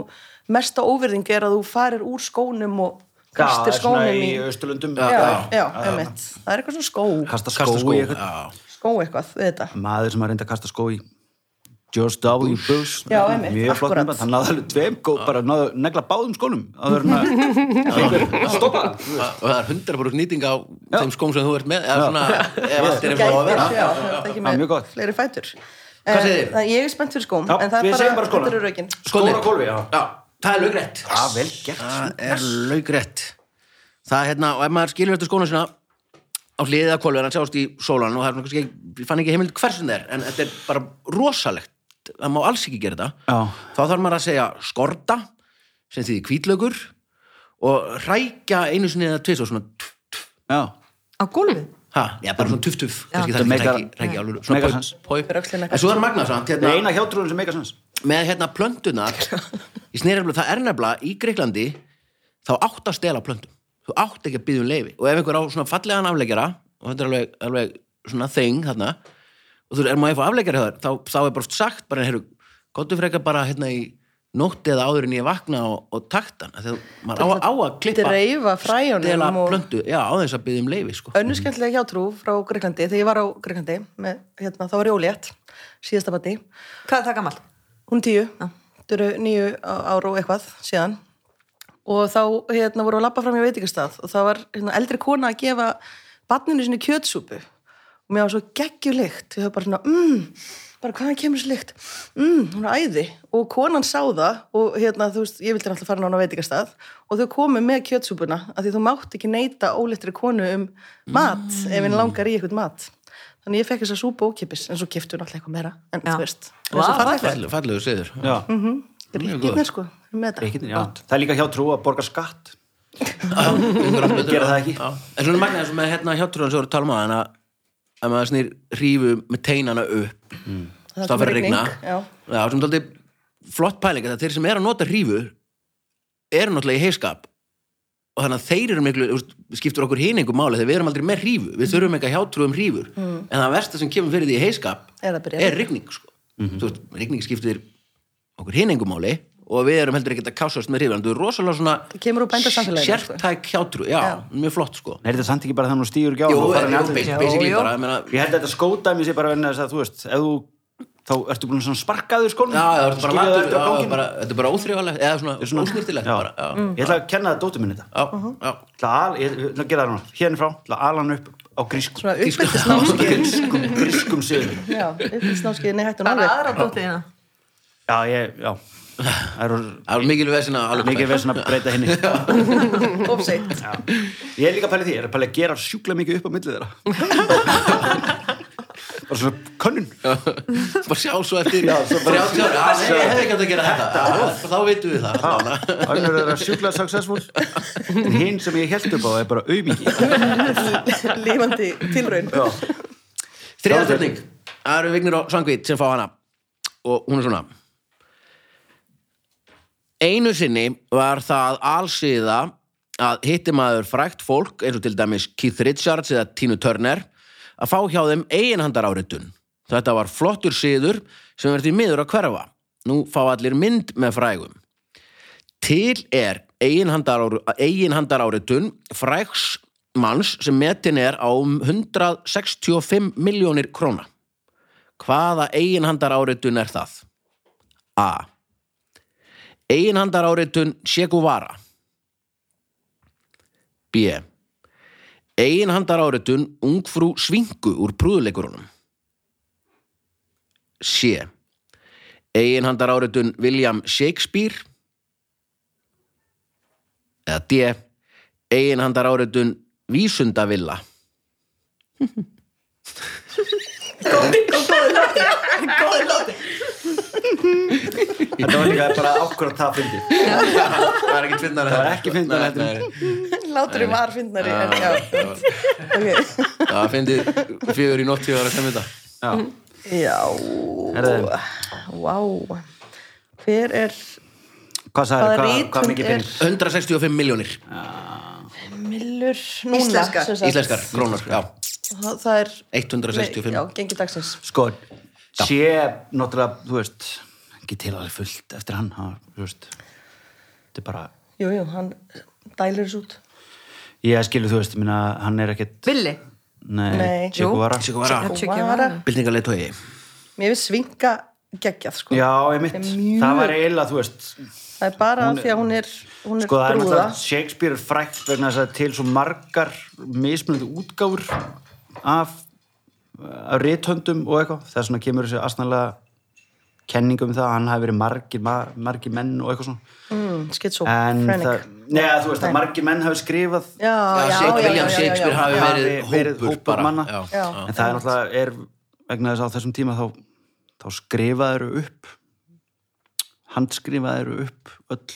C: mesta óvirðing er að þú farir úr skónum og kastir skónum í...
B: Östurlundum.
C: Já, já, einmitt. Það er eitthvað svona skó,
B: Kasta skó
A: Kasta skó,
B: í
A: já.
B: eitthvað.
C: skó eitthvað, við þetta.
B: Maður sem að reynda að kasta skó í George W. Bush.
C: Já, einmitt,
B: Mjög flott
C: akkurat.
B: með það. náði alveg tveim góð, bara náðu negla báðum skónum. Það er hérna, stoppa.
A: og það er hundra bara nýting á þeim skóm sem þú ert með eða svona, ef allt er eins og á að
C: Gætir,
A: vera
C: já, það er ekki
B: Já, mjög
C: með
B: gott.
C: fleiri fætur.
A: Hvað
C: En,
A: segið þið?
C: það- Ég er spennt fyrir skóm,
B: Já,
C: en það
B: við
C: er
B: segjum
C: bara,
B: bara skóna.
C: þetta eru rökin.
B: Skónir á
A: Skónir.
B: gólfi, já.
A: já, það er laugrætt
B: Já, vel gert.
A: það er laugrætt það er hérna, og ef maður skilur eftir skóna sína á hliðið af kolverðan sjást í sólan og það er svona kannski, ekki- ég fann ekki heimild hversun það er en þetta er bara rosalegt það má alls ekki gera þetta
B: Já.
A: þá þarf maður að segja skorta sem þýðir kvítlaugur og rækja einu sinni eða tvis og svona tuff, tuff.
B: Já,
D: á gólfið.
A: ha, já, bara svona tuff tuff kannski
B: Þetta
A: það er
B: meikar-
A: ekki rækja- rækja alveg
B: meikar
A: svona
B: sens.
A: poi- poi.
C: Fyrir öxlina
A: en svo er magna samt
B: það
A: hérna,
B: er eina hjátrúin sem meika sens.
A: með hérna
C: [laughs]
A: plöntunar í snerjaflöð, það er nefnilega í Greiklandi þá átt að stela plöntum þú átt ekki að byggja um leifi og ef einhver á svona fallegan afleggjara og þetta er alveg, alveg svona þing þarna og þú er maður að fá afleggjara hjá þér þá, þá er bara oft sagt, bara heyrðu gottu frekar bara hérna í nótti eða áður en ég vakna og, og taktan þegar maður á, á að klippa
C: Dreifa fræjunum
A: stela
C: og-
A: plöntu, já, á þess að byggja um leifi sko.
C: Önnu skemmtilega hjátrú frá Greiklandi, þegar ég var á Greiklandi, með, hérna, þá var ég ólétt, síðasta bati.
D: Hvað er það gammal?
C: Hún er tíu, þetta eru nýju á- ár og eitthvað síðan og þá hérna, voru að labba fram í veitingastað og það var hérna, eldri kona að gefa barninu sinni kjötsúpu og mér var svo geggjulikt, ég höfði bara svona mmm, bara hvaðan kemur þessi lykt mmm, hún er æði og konan sá það og hérna, þú veist, ég vildi náttúrulega fara nána á veitingastað og þau komu með kjötsúpuna af því þú mátt ekki neyta óléttri konu um mat, ef henni langar í eitthvað mat þannig ég fekk þessa súpu ókipis en svo kiptu náttúrulega eitthvað meira, en
D: Já.
C: þú veist það er
D: Vá,
C: svo fallegt.
D: fallegt.
A: Fall- fallegu siður
B: Já,
C: Ríkirnir sko, við erum með þetta.
B: Reikirnir, já. Það er líka hjátrú að borga skatt.
A: gera
B: Gera það ekki.
A: en svona magnaði sem með hérna hjátrúan svo eru talma að hana að maður snýr rífu með teinana upp mm. stað
C: Það
A: fyrir að
C: kemur rigning,
A: rigna
C: já.
A: já, sem þátti flott pæling að þeir sem er að nota rífu eru náttúrulega í heiskap og þannig að þeir eru miklu þú veist, skiptur okkur hiningum máli þegar við erum aldrei með rífu
C: Mm.
A: við þurfum ekki að hjátrú um rífur en það versta sem kemur fyrir því í heiskap
C: Er að byrja að
A: er rigning sko.
B: Mhm.
A: Þú veist, rigning skiptir okkur hiningumáli og við erum heldur ekkert að kásast með rífur en þú er rosalega svona
C: Það kemur úr bændasamfélaginu, sko.
A: sértæk hjátrú, já, mjög flott sko
B: Er þetta samt ekki bara þannig að þú stýður ekki á
A: Jú, eh,
B: og farin í
A: jú,
B: andlitið?
A: ba- basically
D: Jú, jú.
A: bara, ég meina
B: Ég held að þetta skódæmi sé bara verið að þú veist, ef þú, þá ertu búin að svona sparkaður skónum.
A: Já, það er bara
B: Skilja
A: latur,
B: eftir á
A: já,
B: ganginum.
A: bara- þetta er bara óþrifalegt eða svona, svona ósnýrtilegt
B: Já.
A: bara,
C: Mm.
A: já,
B: Ég ætla að kenna það dóttur minn þetta.
A: já,
C: Uh-huh.
A: já.
B: Ég ætla að al- Ég ég ætla að gera það núna, hérna frá, ég ætla að ala hann upp á grískum.
C: Svona uppbyldisnámskeið.
B: Grískum, grískum siðum.
C: Já, uppbyldisnámskeiðinni hættu hún
D: Bara
C: alveg.
D: aðra dóttiðina.
B: Já, ég, já. Það eru
A: Það er mikil veðsinn að alveg
B: mikið verið svona að breyta
A: [laughs]
B: henni.
C: Offseitt.
B: Já. Ég er líka að pæla í því, ég er að pæla að gera sjúkla mikið upp á millið
A: [laughs]
B: þeirra. bara svona könnun.
A: [laughs] bara sjá svo eftir
B: Já, svo bara-
A: 30 ára, já, nei, ég hef ekki átt að gera þetta Já, þá vitum við það allavega.
B: Önnur er að sjúkla successful. En hinn sem ég held upp á er bara aumingi.
C: [laughs] Lífandi tilraun.
A: Þriða spurning Það eru Vignir og Svangvít sem fá hana og hún er svona Einu sinni var það allsíða að hitti maður frækt fólk eins og til dæmis Keith Richards eða Tina Turner að fá hjá þeim eiginhandar áritun. Þetta var flottur síður sem verði miður að hverfa. Nú fá allir mynd með frægum. Til er eiginhandar áritun fræks manns sem metin er á um 165 miljónir króna. Hvaða eiginhandar áritun er það? A. Eiginhandar áritun Shekuvara. B. Eiginhandar áritun ungfrú Svingu úr prúðuleikurunum. C. Eiginhandar áritun William Shakespeare eða D eiginhandar áreitun vísundavilla
B: Þetta var líka bara ákvörða það fyndið.
A: það er ekki finnar
B: Það var ekki fyndnara heldur en-
C: láturum var fyndnari en já, ok.
A: Já, fyndið fjögur í nótt ég var að semja þetta.
B: Já.
C: Já,
B: Herðu.
C: vá. Hver er
B: Hvað sagði,
C: Hvaða
B: hvað, hvað
C: rithönd
B: mikið
C: er-
B: pening?
A: 165 miljónir
C: millur núna?
D: Íslenskar.
C: sem sagt?
A: íslenskar krónur, já.
C: Það- Það er...
A: 165.
C: Já, gengi dagsins.
B: Sko, sé náttúrulega, þú veist, ekki til alveg fullt eftir hann, hann, þú veist, þetta er bara,
C: Jú, jú, hann dælir þessu út.
B: ég skilu, þú veist, minna, hann er ekkert,
D: Billy
B: nei,
C: Nei.
B: Chico Vara.
A: Sigga Vara,
D: Check your
C: Vara.
D: money.
A: byltingarlega tói.
C: Mér finnst svinga geggjað, sko.
B: Já, einmitt,
C: Mjög.
B: það var eiginlega, þú veist,
C: Það er bara af því að hún er, hún er
B: sko, það er
C: brúða.
B: náttúrulega, Shakespeare er frækt vegna þess að til svo margar mismunandi útgáfur af, af rithöndum og eitthvað, þess vegna kemur þessi astanlega kenning um það að hann hafi verið margir, mar- margir menn og eitthvað svona.
C: Mm, Skitsó,
B: en
C: frenik.
B: það, neða þú veist að margir menn hafi skrifað
C: Já, já, já, já,
A: William
C: já, já,
A: Shakespeare
C: já.
A: hafi
B: Hafi
A: verið
B: verið
A: hópur
B: hópur
A: bara.
B: manna.
A: Já.
C: Já.
B: en það er náttúrulega er vegna þess að á þessum tíma þá, þá skrifaðir upp handskrifaðir upp öll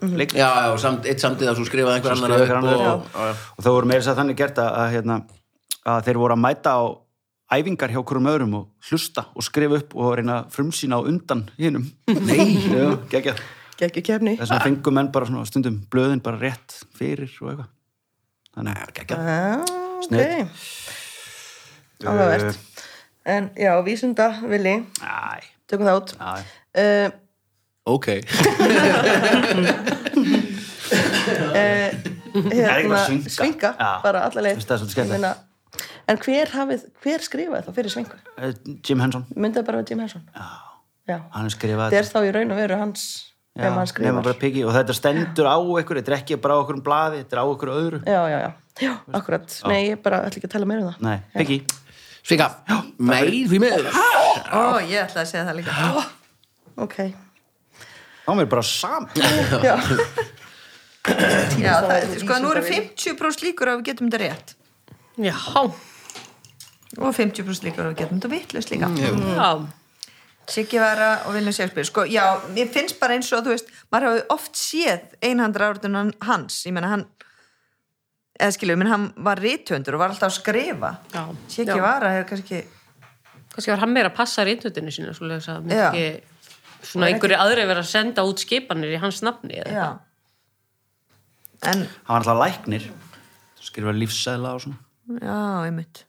B: mm
C: Mhm.
A: Já, já, samt, eitt samtíð að þú skrifaði einhver annar
B: skrifaði einhver
A: upp
B: annar.
A: og, og,
B: og það voru meira þess að þannig gert að, að, hérna, að þeir voru að mæta á æfingar hjá hverjum öðrum og hlusta og skrifa upp og reyna að frumsýna á undan hinnum [laughs] Nei, geggjað
C: Geggju kefni.
B: Þess vegna fengu menn bara svona stundum blöðin bara rétt fyrir og eitthvað Þannig, geggjað
C: Ah, ok.
B: Snið. Eh,
C: Áhugavert. En já, vísunda, Vili,
B: Æ,
C: tökum það út.
B: já, já.
C: Uh,
A: Ok,
B: er ekki
C: eh, hérna,
B: bara svinga.
C: svinga,
B: Já.
C: bara alla leið.
B: Finnst það svolítið skemmtilegt.
C: Ég meina, En hver, hafið, hver skrifaði þá fyrir svingu?
B: Eh, Jim Henson,
C: Myndaði bara við Jim Henson? Já.
B: hann er skrifað
C: Það er þá í raun og veru hans,
B: Já,
C: ef hann
B: nema
C: skrifar.
B: bara piggi og þetta stendur á ykkur, þetta er ekki bara á ykkur um blaði þetta er á ykkur öðru
C: Já, já, já. Já, akkurat. Nei, ég bara ætla ekki að tala meira um það.
B: Nei, piggi,
A: Svika, mei, því miður
D: Ó, ég ætla að segja það líka Ó,
C: Ok.
B: þá er mér bara sam
C: Já.
D: Já,
C: Það
D: það,
C: er
D: sko, nú eru
C: vísindavélin.
D: 50% líkur að við getum þetta rétt
E: Já,
D: og 50% líkur að við getum þetta vitlaust líka
E: já.
D: Siggi Vara og Vilja Sjálfsbyrg sko, já, mér finnst bara eins og þú veist maður hafi oft séð einhandra áratunan hans, ég menna hann eða skilju, menn hann var rithöndur og var alltaf að skrifa
E: Já.
D: Siggi
E: Já.
D: Vara hefur kannski
E: kannski var hann meira að passa rítutinu sína svona, svona,
D: Já.
E: ekki, svona einhverju aðri vera að senda út skipanir í hans nafni eða.
D: já. en,
B: hann var alltaf læknir skrifa lífsæðla og svona
D: já, einmitt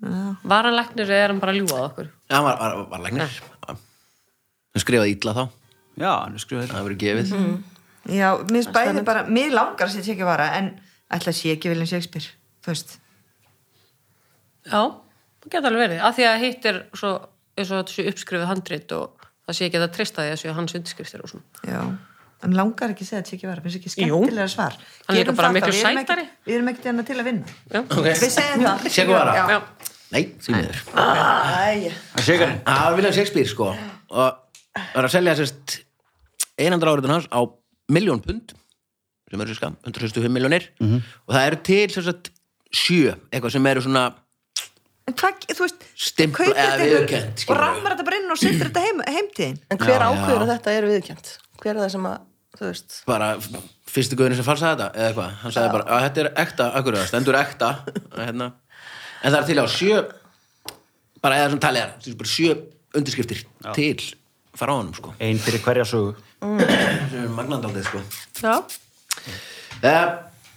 E: var hann læknir eða er hann bara að ljúga að okkur
A: Já, hann var, var, var læknir Já. Hann skrifaði illa þá,
B: já, hann er skrifað hérna.
A: það hefur verið gefið
D: já, mér finnst bæði bara, mér langar að sé Siggi Vara en ætla að sé ekki Vilja Sjálfsbyrg þú veist,
E: já, það geta alveg verið af því að hitt er svo, eins og þetta sé uppskrifið handrit og það sé ekki að það treysta því að séu hans undirskriftir og svona
D: já en langar ekki að segja að Siggi Vara, finnst ekki
E: Jú.
D: skemmtilega svar
E: Hann er líka
D: Gerum
E: bara
D: það þá,
E: miklu
D: við erum
E: sætari.
D: ekki- við erum ekkert enna til að vinna
E: já,
A: okay.
D: við segjum það
A: Che Guevara.
D: Já.
E: já.
A: Nei, því miður
C: Æja.
B: Sigarinn
A: Það var William Shakespeare, sko og var að selja sérst einandra áriðin hans á miljón pund sem eru sérska, 165 miljónir og það eru til sérst sjö, eitthvað sem eru svona
D: En hvað, þú veist,
A: Stimpl-
D: kaupir
A: eða
D: þetta ykkur
A: viðurkennt,
D: og
A: skilurðu.
D: rammar þetta bara inn og setur þetta heim, heimtíðin.
C: En hver
A: Já,
C: ákveður
A: já.
C: að þetta er viðkjönd? Hver er það sem að, þú veist,
A: bara f- fyrsti guðurinn sem falsaði þetta eða eitthvað, hann sagði bara að þetta er ekta akkur, það stendur ekta að hérna. en það er til á sjö bara eða svona talið er, þú veist, bara sjö undirskriftir til faraónum sko,
B: ein fyrir hverja sögu
A: sem er magnandaldið sko
E: já,
A: uh,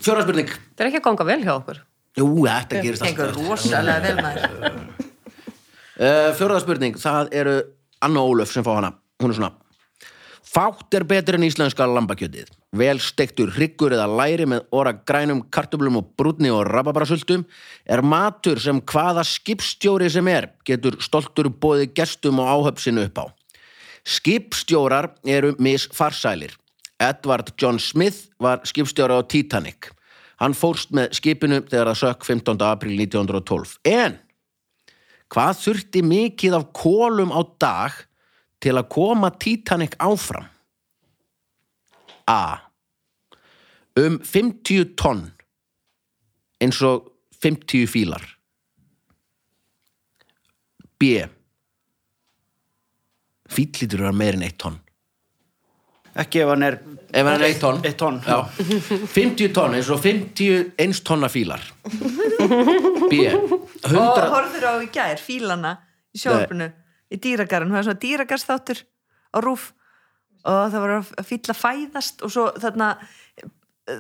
A: fjóra spurning
E: það er ekki að ganga vel hjá okkur
A: Jú, þetta gerist
D: Gengur
A: alltaf
D: rosalega vel maður.
A: uh, Fjóraða spurning, það eru Anna Ólöf sem fá hana, hún er svona Fátt er betur en íslenska lambakjötið Vel stektur hryggur eða læri með óra grænum kartöflum og brúnni og rababarasultum er matur sem hvaða skipstjóri sem er getur stoltur bóði gestum og áhöpsinu upp á Skipstjórar eru misfarsælir. Edward John Smith var skipstjóra á Titanic. Hann fórst með skipinu þegar það sökk 15. april 1912. En hvað þurfti mikið af kólum á dag til að koma Titanic áfram? A. Um 50 tonn eins og 50 fílar. B. Fýll lítur að vera meir en eitt tonn
B: ekki ef hann er
A: Ef hann er eitt tonn.
B: eitt tonn.
A: Já. 50 tonn, eins og 50 eins tonna fílar. B. 100...
D: og horfður á í gær fílana í sjófinu, í dýragarinn það er svona dýragarstáttur á rúf og það var að fíla fæðast og svo þarna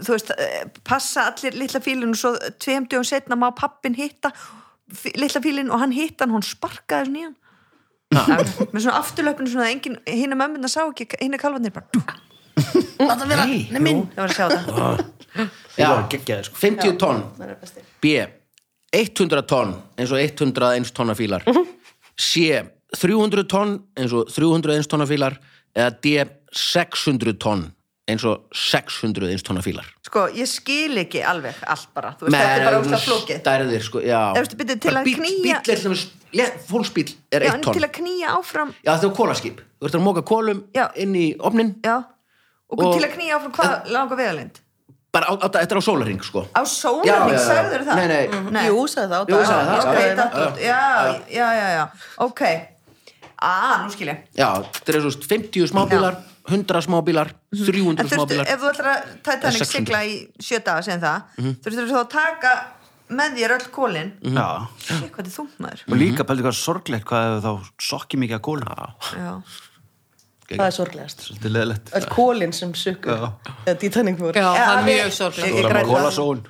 D: þú veist, eh, passa allir litla fílin og svo tveim dögum setna má pappin hitta fí- litla fílin og hann hitta hann, hún sparkaði svona í hann Það- með svona afturlöpun svona að engin, hinna mömmuna sá ekki hinna kalvarnir bara dú,
C: Láta vera, nei minn.
D: það var að sjá það
A: Já,
B: Það var geggjaðir, sko.
A: 50 tonn.
C: Það er besti.
A: B. 100 tonn, eins og 100 eins tonna fílar.
D: Mhm.
A: C. 300 tonn, eins og 300 eins tonna fílar. Eða D. 600 tonn, eins og 600 eins tonna fílar.
D: sko, ég skil ekki alveg allt bara, þú veist,
A: Með
D: þetta er bara
A: svona
D: óslega flókið
A: Stærðir, sko, já.
D: Eða, veistu, byrju, til
A: Bara
D: að
A: bíll-
D: knýja-
A: Bíll er til dæmis, le- fólksbíll er
D: já,
A: 1
D: en
A: tonn.
D: til að knýja áfram
A: Já, þetta er kólaskip. Þú ert að móka kólum
D: Já.
A: inn í opnin,
D: Já, og,
A: Og-
D: til að knýja áfram hvað langa veðalind?
A: bara á, á, þetta er á sólarring, sko. Já,
D: Á
A: já,
D: sólarning,
A: já.
D: sagður það? Mhm.
A: Nei, nei.
D: nei.
C: Jú, sagði það á
A: Jú,
C: dag.
A: sagði
D: já,
A: það,
D: ok,
A: já,
D: ég datt
A: já,
D: út. já, já, já, já, ok ah, nú skil ég
A: Já, þetta er svo 50 smábílar, 100 smábílar, 300
D: Mhm. En þurftu,
A: smábílar.
D: ef þú ætlar að Titanic
A: 600.
D: sigla í sjö daga sem það,
A: Mhm.
D: þurftu þú að taka með þér öll kólin
B: Já.
D: Sér hvað þið þungt maður
B: Og líka pældi hvað sorglegt hvað ef þá sokki mikið að kóla.
D: Já,
C: Það er sorglegast.
B: Svolítið leðilegt.
C: Öll kólinn sem sukkur. Eða Titanic fór.
E: Já, það er
D: við-
E: mjög sorglega.
D: Ég- ég græt
B: Kóla
D: það.
B: són.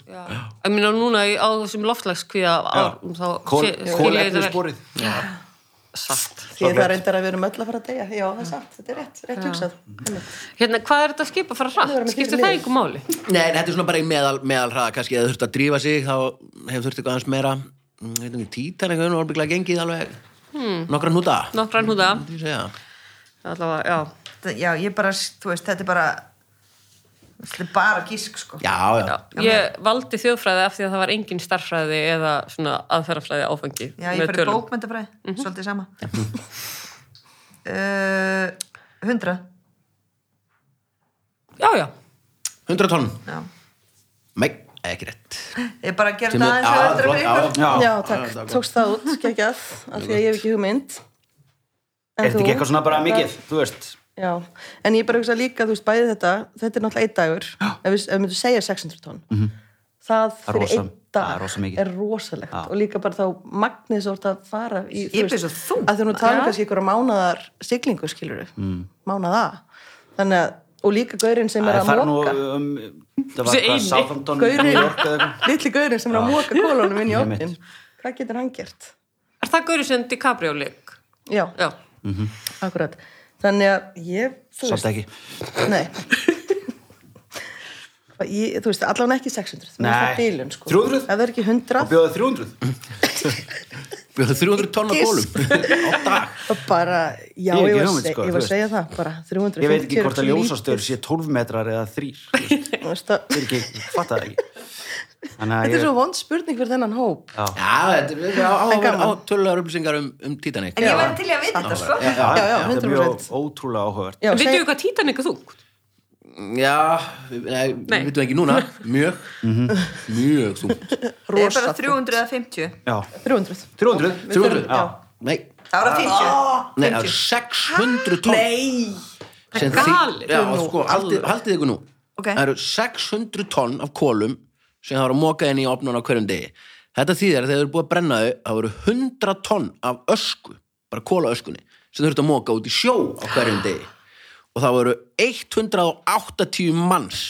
E: Ég minna núna í- á þessum loftslagskvíða árum um þá
B: Kól,
E: sé- skil
B: kól
E: ég þetta
B: eftir
E: vel.
B: sporið.
E: Satt.
C: Því það reyndar að við erum öll að fara að deyja. Já, það er satt. Þetta er rétt, rétt hugsað. Einmitt.
E: Hérna, hvað er þetta skip að fara
C: vera
E: hratt?
C: með
E: Skiptir
C: fyrir
E: það
C: lið.
E: einhver máli?
A: Nei, en þetta er svona bara í meðal, meðal hraða, kannski eða þurft að drífa sig, þá hefur þurft eitthvað aðeins meira, mm, veitum við, títan eitthvað, og orðbygglega gengið alveg nokkra hnúta.
E: Nokkran húða.
A: myndi ég segja.
E: Allavega, já.
D: Það- já, ég bara, þú veist, þetta er bara Þetta er bara gísk, sko
A: Já, já.
E: Ég valdi þjóðfræði af því að það var engin starffræði eða svona aðferðafræði áfangi
D: Já,
E: með
D: ég fyrir
E: tölum. Mhm.
D: bókmyndafræði, svolítið
E: [laughs]
D: sama uh, 100
E: Já, já.
A: 100 tonn.
D: Já.
A: Nei, ekki rétt.
D: Ég bara gerði
A: Sem
D: það
A: er- já,
D: aðeins og öllur
A: flott,
D: fyrir
A: já,
D: ykkur
B: Já.
C: Já, takk. Tókst það út, skeggjað. Af því að ég hef ekki hugmynd. En
B: Er þetta
C: þú?
B: ekki eitthvað svona bara mikið, þú veist?
C: Já, en ég bara hugsa líka, þú veist, bæði þetta, þetta er náttúrulega einn dagur, ef við, ef við myndum segja 600 tonn,
B: Mhm. er
C: það fyrir
B: rosa-
C: einn dag
B: það er rosa mikið.
C: er rosalegt og líka bara þá magnið svo orðið að fara í,
D: Ég byrja svo þungt.
C: að þú nú tala um
E: Já.
C: kannski ykkur mánadar siglingu, skilur við, mm. mánaða, þannig að, og líka gaurinn sem er
B: Það
C: að
B: fara nú
C: móka,
B: um, það var hvað,
E: Þessi eini.
B: Southampton, New
C: gaurinn,
B: York eða eitthvað.
C: litli gaurinn sem er að móka kólunum inn í
B: Einmitt.
C: opnin, hvað getur hann gert?
E: Er það gaurið sem DiCaprio leik?
C: Já,
E: Já.
C: akkurat, þannig að ég, þú
B: Samt ekki.
C: Nei Ég, þú veist, allan ekki 600 Mér finnst
B: Nei.
C: það bílun, sko.
B: 300?
C: Ef það er ekki 100,
B: Og bjóða 300.
A: Við höfum 300 tonn á
C: Giss.
A: kólum. Á dag.
C: þá bara, já,
B: Ég hef ekki
C: ég, var,
B: hugmynd, sko,
C: seg, ég
B: þú
C: var
B: veist.
C: að segja það bara 350
B: Ég veit ekki hvort að
C: er svo
B: ljósastöður sé 12 metrar eða 3.
C: lítið, [laughs] þú veist að-
B: Ég er ekki, ég fatta það ekki. Þannig að
C: Þetta er
B: ég,
C: svo vond spurning fyrir þennan hóp
B: Já.
A: Já, þetta er á, á,
C: En gaman.
A: á tölulegar upplýsingar um, um Titanic.
D: En ég væri til í að vita þetta, sko
B: já,
C: já, já,
B: þetta er mjög
C: 100%.
B: ótrúlega áhugavert.
C: Já,
E: Vitið
C: seg,
E: þið hvað Titanic er þungt?
A: Já, við- nei,
E: Nei.
A: við veitum ekki núna. Mjög, mjög þungt.
D: Ég er bara
C: rosa
D: 350
B: Já,
C: 300
B: 300.
A: 300?
B: Já.
A: Nei,
D: Það var 50
A: nei, það er 600 tonn.
C: Nei,
A: sem
E: Það er
A: þið,
E: galið.
A: já,
C: Nú,
A: sko, haldið, haldið ykkur nú
D: Ok.
A: það eru 600 tonn af kolum sem það eru mokað inn í opnun á hverjum degi þetta þýðir að þegar þau eru búið að brenna þau það eru 100 tonn af ösku bara kólaöskunni sem þau eru að moka út í sjó á hverjum degi og það eru 180 manns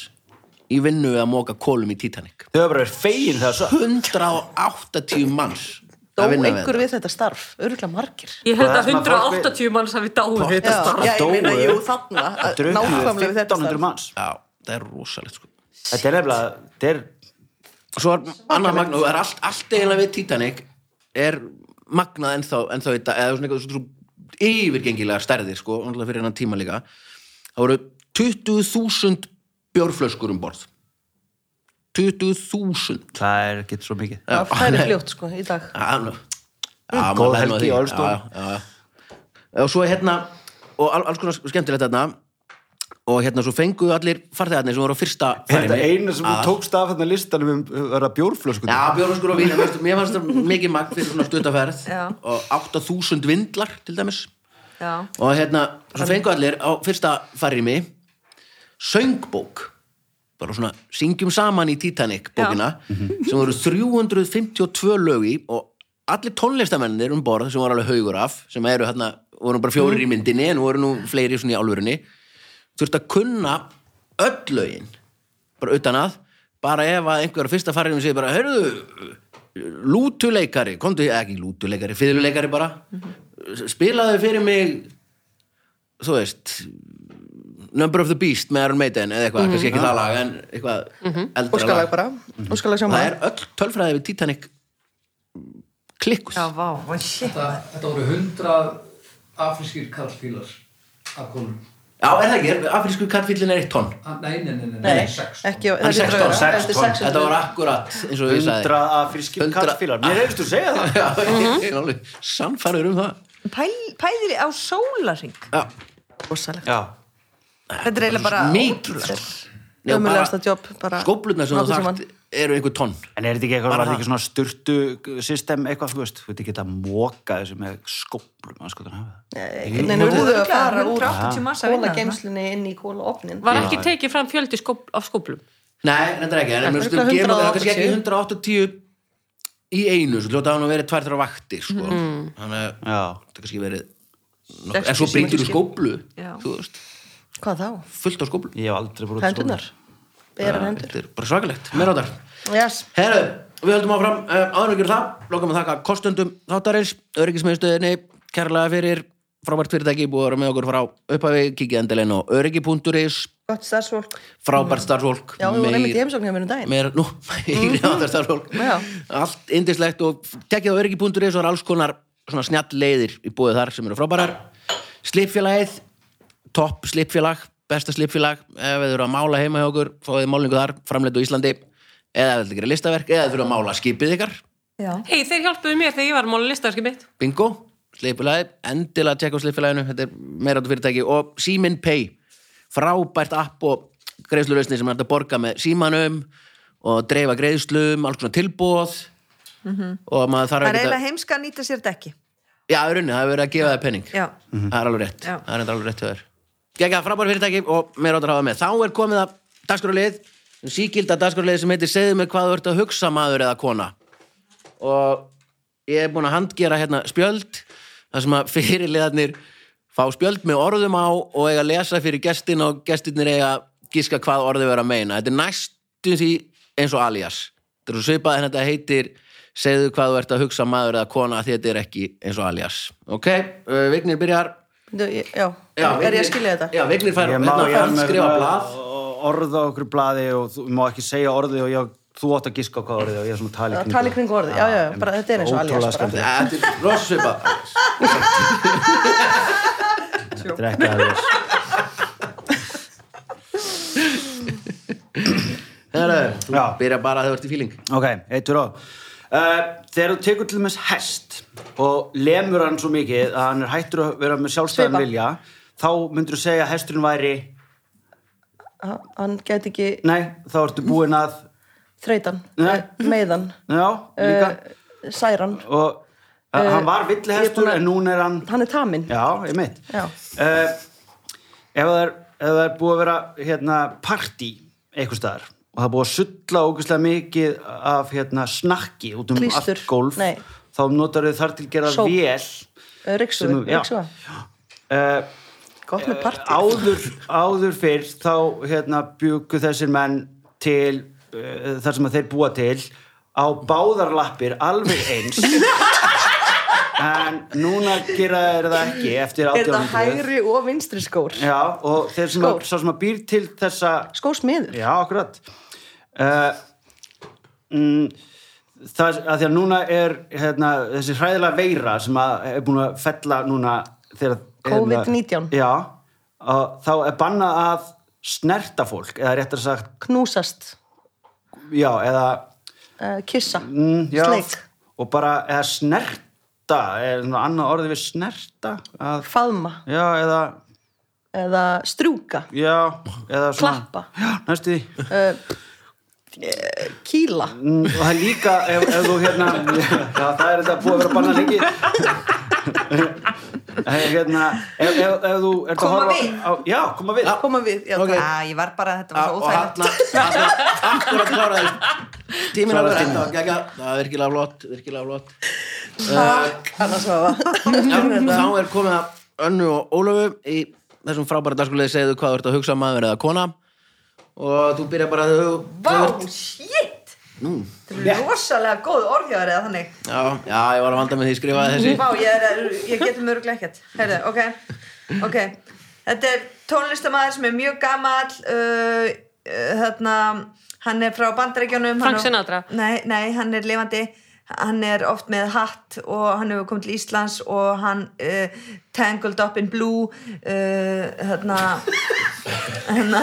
A: í vinnu við að moka kolum í Titanic
B: Þau hafa bara verið fegin þegar svo.
A: 180 manns
C: dó
A: að vinna við
C: einhver við þetta starf Örgulega margir
E: Ég held
B: Það
E: að
B: sem að fólk
E: 180 manns hafi dáið við þetta
C: Já,
E: starf.
C: já, ég meina,
B: dóu.
C: jú, þarna að- Nákvæmlega við þetta starf
B: 1500 manns.
A: já, það er rosalegt sko
B: Þetta er nefnilega, þetta er,
A: svo er annað magna og er allt, allt eiginlega við Titanic er magnað ennþá, ennþá í dag eða svona eitthvað svona yfirgengilega stærðir sko, náttúrulega fyrir hennan tíma líka það voru 20.000 bjórflöskur um borð 20.000
B: það er ekki svo mikið.
A: [laughs]
C: Það færi fljótt, sko, í dag
A: Já, nú. Já,
B: Góð
A: maður lærir nú
B: helgi
A: af
B: í
A: því.
B: Ölstón.
A: Já, já, já. Og svo hérna, og al- alls konar skemmtilegt þarna, og hérna svo fenguðu allir farþegarnir sem voru á fyrsta
B: Þetta
A: ferðinni
B: eina sem þú
A: að-
B: tókst af þetta listanum um vera bjórflösku.
A: Já, bjórflöskur og vín, en veistu, mér fannst það mikið magn fyrir svona stuttaferð
D: Já.
A: og 8000 vindlar til dæmis
D: Já
A: og hérna, svo fengu allir á fyrsta farrými söngbók bara svona syngjum saman í Titanic bókina sem voru 352 lög í og allir tónlistamennir um borð sem var alveg haugur af sem eru hérna, voru bara fjórir í myndinni en voru nú fleiri svona í álfurinni þurfti að kunna öll lögin bara utan að bara ef að einhver á fyrsta farinu segir bara, heyrðu lútuleikari, komdu, eh, ekki lútuleikari fiðluleikari bara spilaðu fyrir mig þú veist Number of the Beast með Iron Maiden eða eitthvað, kannski ekki það lag en eitthvað eldra
C: Óskalag bara,
B: Mhm.
C: óskalag
A: það
C: sjóma
A: er öll tölfræði við Titanic klikkuð
D: Já, vá, vá, shit
F: Þetta, þetta voru hundrað afrískir kallfílar af konum.
A: Já, er það ekki, afrísku kattfýllin er eitt tonn
F: Ah, Nei, nei, nei, nei,
C: Nei,
B: sko.
F: sex.
C: ekki,
A: Hann er 16,
B: 16.
A: Þetta var akkurat, eins og ég sagði
B: 100 afrískir
A: Hundrað-
B: kallfílar mér hefðist þú segja það
A: Já, ég er alveg sannfæður um það
D: Pæl, Pæðir á sólaring
A: Já,
C: rosalegt
B: já,
D: Þetta er eiginlega bara
A: mikilvægt Nei, og bara
C: Ömurlegasta jobb, bara
A: Skóflurnar sem þú
C: nokkurn
A: þarft eru einhver tonn
B: en er þetta ekki eitthvað,
A: Bara
B: var þetta
A: það.
B: ekki svona styrtu system eitthvað, þú veist, þú veit ekki að móka þessu með skóplum, að skoðan hafa það
C: Nei, nú eruðu að fara úr
D: 180 massa vinna þarna.
C: kólageimslunni inn í kólaopnin
E: Var ekki tekið fram fjöldi skóp, af skóplum
A: Nei, þetta er ekki, en mér
C: Örugglega
A: stum gefum það kannski ekki
C: 180.
A: 180 í einu, svo hljóta hann að vera tvær þrjá vaktir, sko Þannig að
B: já,
A: þetta kannski verið nokkuð-
D: Sextíu
A: En svo breytir þú
D: sinnum.
A: skóplu,
D: Já.
A: þú veist,
C: Hvað þá?
A: fullt á skóplu
B: ég hef aldrei brúið
C: Hendunar? Berar hendur?
A: Þetta er bara svakalegt, meira á þar
C: Yes.
A: Herru, við höldum áfram uh, áður en ekki það, lokum að þakka kostendum þáttarins, öryggismiðstöðinni kærlega fyrir frábært fyrirtæki búið að vera með okkur frá upphafi, kikið endilegin á öryggi.is,
C: Gott starfsfólk
A: frábært starfsfólk
C: Mhm. Já, við vorum einmitt í
A: meir-
C: heimsókn hjá mér um daginn Mhm.
A: meira, nú, [laughs] meiri áður starfsfólk
C: Já.
A: allt indislegt og tekið á öryggi.is og er alls konar svona snjall leiðir í búið þar sem eru frábærar slipfélagið topp slipfélag, besta slipfélag ef þið eru að mála heima hjá okkur fáið þið málningu þar, framleitt á Íslandi eða ef þið gerir listaverk, eða þið eru að mála skipið ykkar
D: Já.
E: Hei, þeir hjálpuðu mér þegar ég var að mála listaverkið mitt
A: bingo, slipfélagið endilega tjekka á slipfélaginu, þetta er meira áttu fyrirtæki og Simin Pay frábært app og greiðsluröðsni sem er hægt að borga með símanum og dreifa greiðslum, alls konar tilbúð og maður þarf að
D: Það er
A: geta
D: Mhm. eiginlega heimska að nýta sér þetta ekki
A: já, í rauninni, það er verið að gefa það penning
D: Já.
A: það er alveg rétt,
D: Já.
A: það er reyndar alveg rétt hjá þér geggjað frábær fyrirtæki og meira áttu að hafa með þá er komið að dagskrálið síkilda dagskrálið sem heitir segðu mig hvað þú ert að hugsa maður eða kona og ég er búin að handgera hérna spjöld þar sem að fyrirliðarnir fá spjöld með orðum á og eiga að lesa fyrir gestin og gestinir eiga að giska hvað orðið vera að meina þetta er næstu því eins og alias þetta er svo svipað en þetta heitir segðu hvað þú ert að hugsa maður eða kona af því þetta er ekki eins og alias ok, uh, Vignir byrjar
C: Bíddu, ég- Já,
A: Já,
C: er ég
A: Vignir-
C: að skilja þetta?
A: Já, Vignir fær
B: Ég má
A: hérna,
B: ég er með
A: skrifa
B: eitthvað
A: blað
B: orð á okkur blaði og þú má ekki segja orðið og ég, þú átt að giska á hvað orðið og ég er svona tali
C: Já, tala í kringum orðið. Já, já, já, bara þetta er eins og alias
B: Ótrúlega
C: bara.
B: skemmtilegt.
A: Ja, Þetta er rosa svipað
B: Þetta er ekki
C: [laughs]
B: alias
A: Herra, Þú
B: Já.
A: byrja bara að þau ert í fíling
B: Ok, eittur á Uh, þegar þú tekur til þess hest og lemur hann svo mikið að hann er hættur að vera með sjálfstæðan
C: Svipa.
B: vilja þá myndur þú segja að hesturinn væri
C: Ha- Hann gæti ekki
B: nei, þá ertu búin að
C: þreytan,
B: Nei.
C: eh, meiðan,
B: já, [laughs] líka
C: eh, særan,
B: og uh, hann var villihestur
C: ég er búin að-
B: en núna er hann
C: hann er tamin.
B: já, ég mitt
C: Já.
B: Eh, ef það er, ef það er búið að vera hérna, partí einhvers staðar og það er búið að sulla ógeðslega mikið af hérna, snakki út um
C: Klístur.
B: allt gólf
C: Nei.
B: þá notar þau þar til gera
C: Sóp.
B: vél
C: Ríksuga,
B: Sem- já.
C: ríksuga.
B: uh,
C: Eh, Gott með partí.
B: áður, áður fyrr þá hérna, bjúku þessir menn til uh, þar sem að þeir búa til á báðar lappir alveg
C: [laughs]
B: eins en núna gera þeir það ekki eftir
C: Er þetta
B: 1800
C: hægri og vinstri skór?
B: Já, og þeir sem að,
C: Skór.
B: sá sem að býr til þessa
C: Skósmiður?
B: Já, akkurat uh, mm, Það að því að núna er hérna, þessi hræðilega veira sem að er búin að fella núna þegar
C: COVID-19.
B: hérna, Já, og þá er bannað að snerta fólk eða réttar sagt,
C: Knúsast,
B: já, eða
C: eh, kissa,
B: mm, já,
C: sleik,
B: og bara eða snerta er svona annað orðið við snerta að,
C: faðma
B: já, eða
C: eða strjúka,
B: já, eða svona
C: Klappa.
B: Já, næstu því
C: eh, eh, kýla.
B: Mm, og það er líka [laughs] ef, ef þú hérna já, það er þetta búið að vera banna lengi hérna, ef, ef, ef þú ert að
D: Koma
B: horfa
D: við.
B: á, já, koma við
C: koma við, já,
A: Ok. Ah,
C: okay.
D: Já, ég var bara, þetta var svo
A: og
D: óþægilegt
A: [laughs] hann akkur að klára þess tíminn alveg
B: Kláraði
A: rétt og gegja það er virkilega flott virkilega flott Eh,
C: takk annars vafa
A: Já, þá er komið að önnu og Ólöfu í þessum frábæra dagskulegði segðu hvað þú ert að hugsa maður eða kona og þú byrjar bara að þú- þú
D: Vá,
A: ert-
D: shit! Þetta er rosalega góð orðjáður eða þannig.
A: já, já, ég var að vanda með því skrifaði þessi
D: Vá, ég, er, ég getum öruglega ekkert. Herðu, ok, ok. Þetta er tónlistamæður sem er mjög gamall, uh, uh, þarna, hann er frá bandarækjónum.
E: Frank Sinatra.
D: Nei, nei, hann er lifandi. Hann er oft með hatt og hann hefur komið til Íslands og hann uh, tangled up in blue, uh, þarna... hérna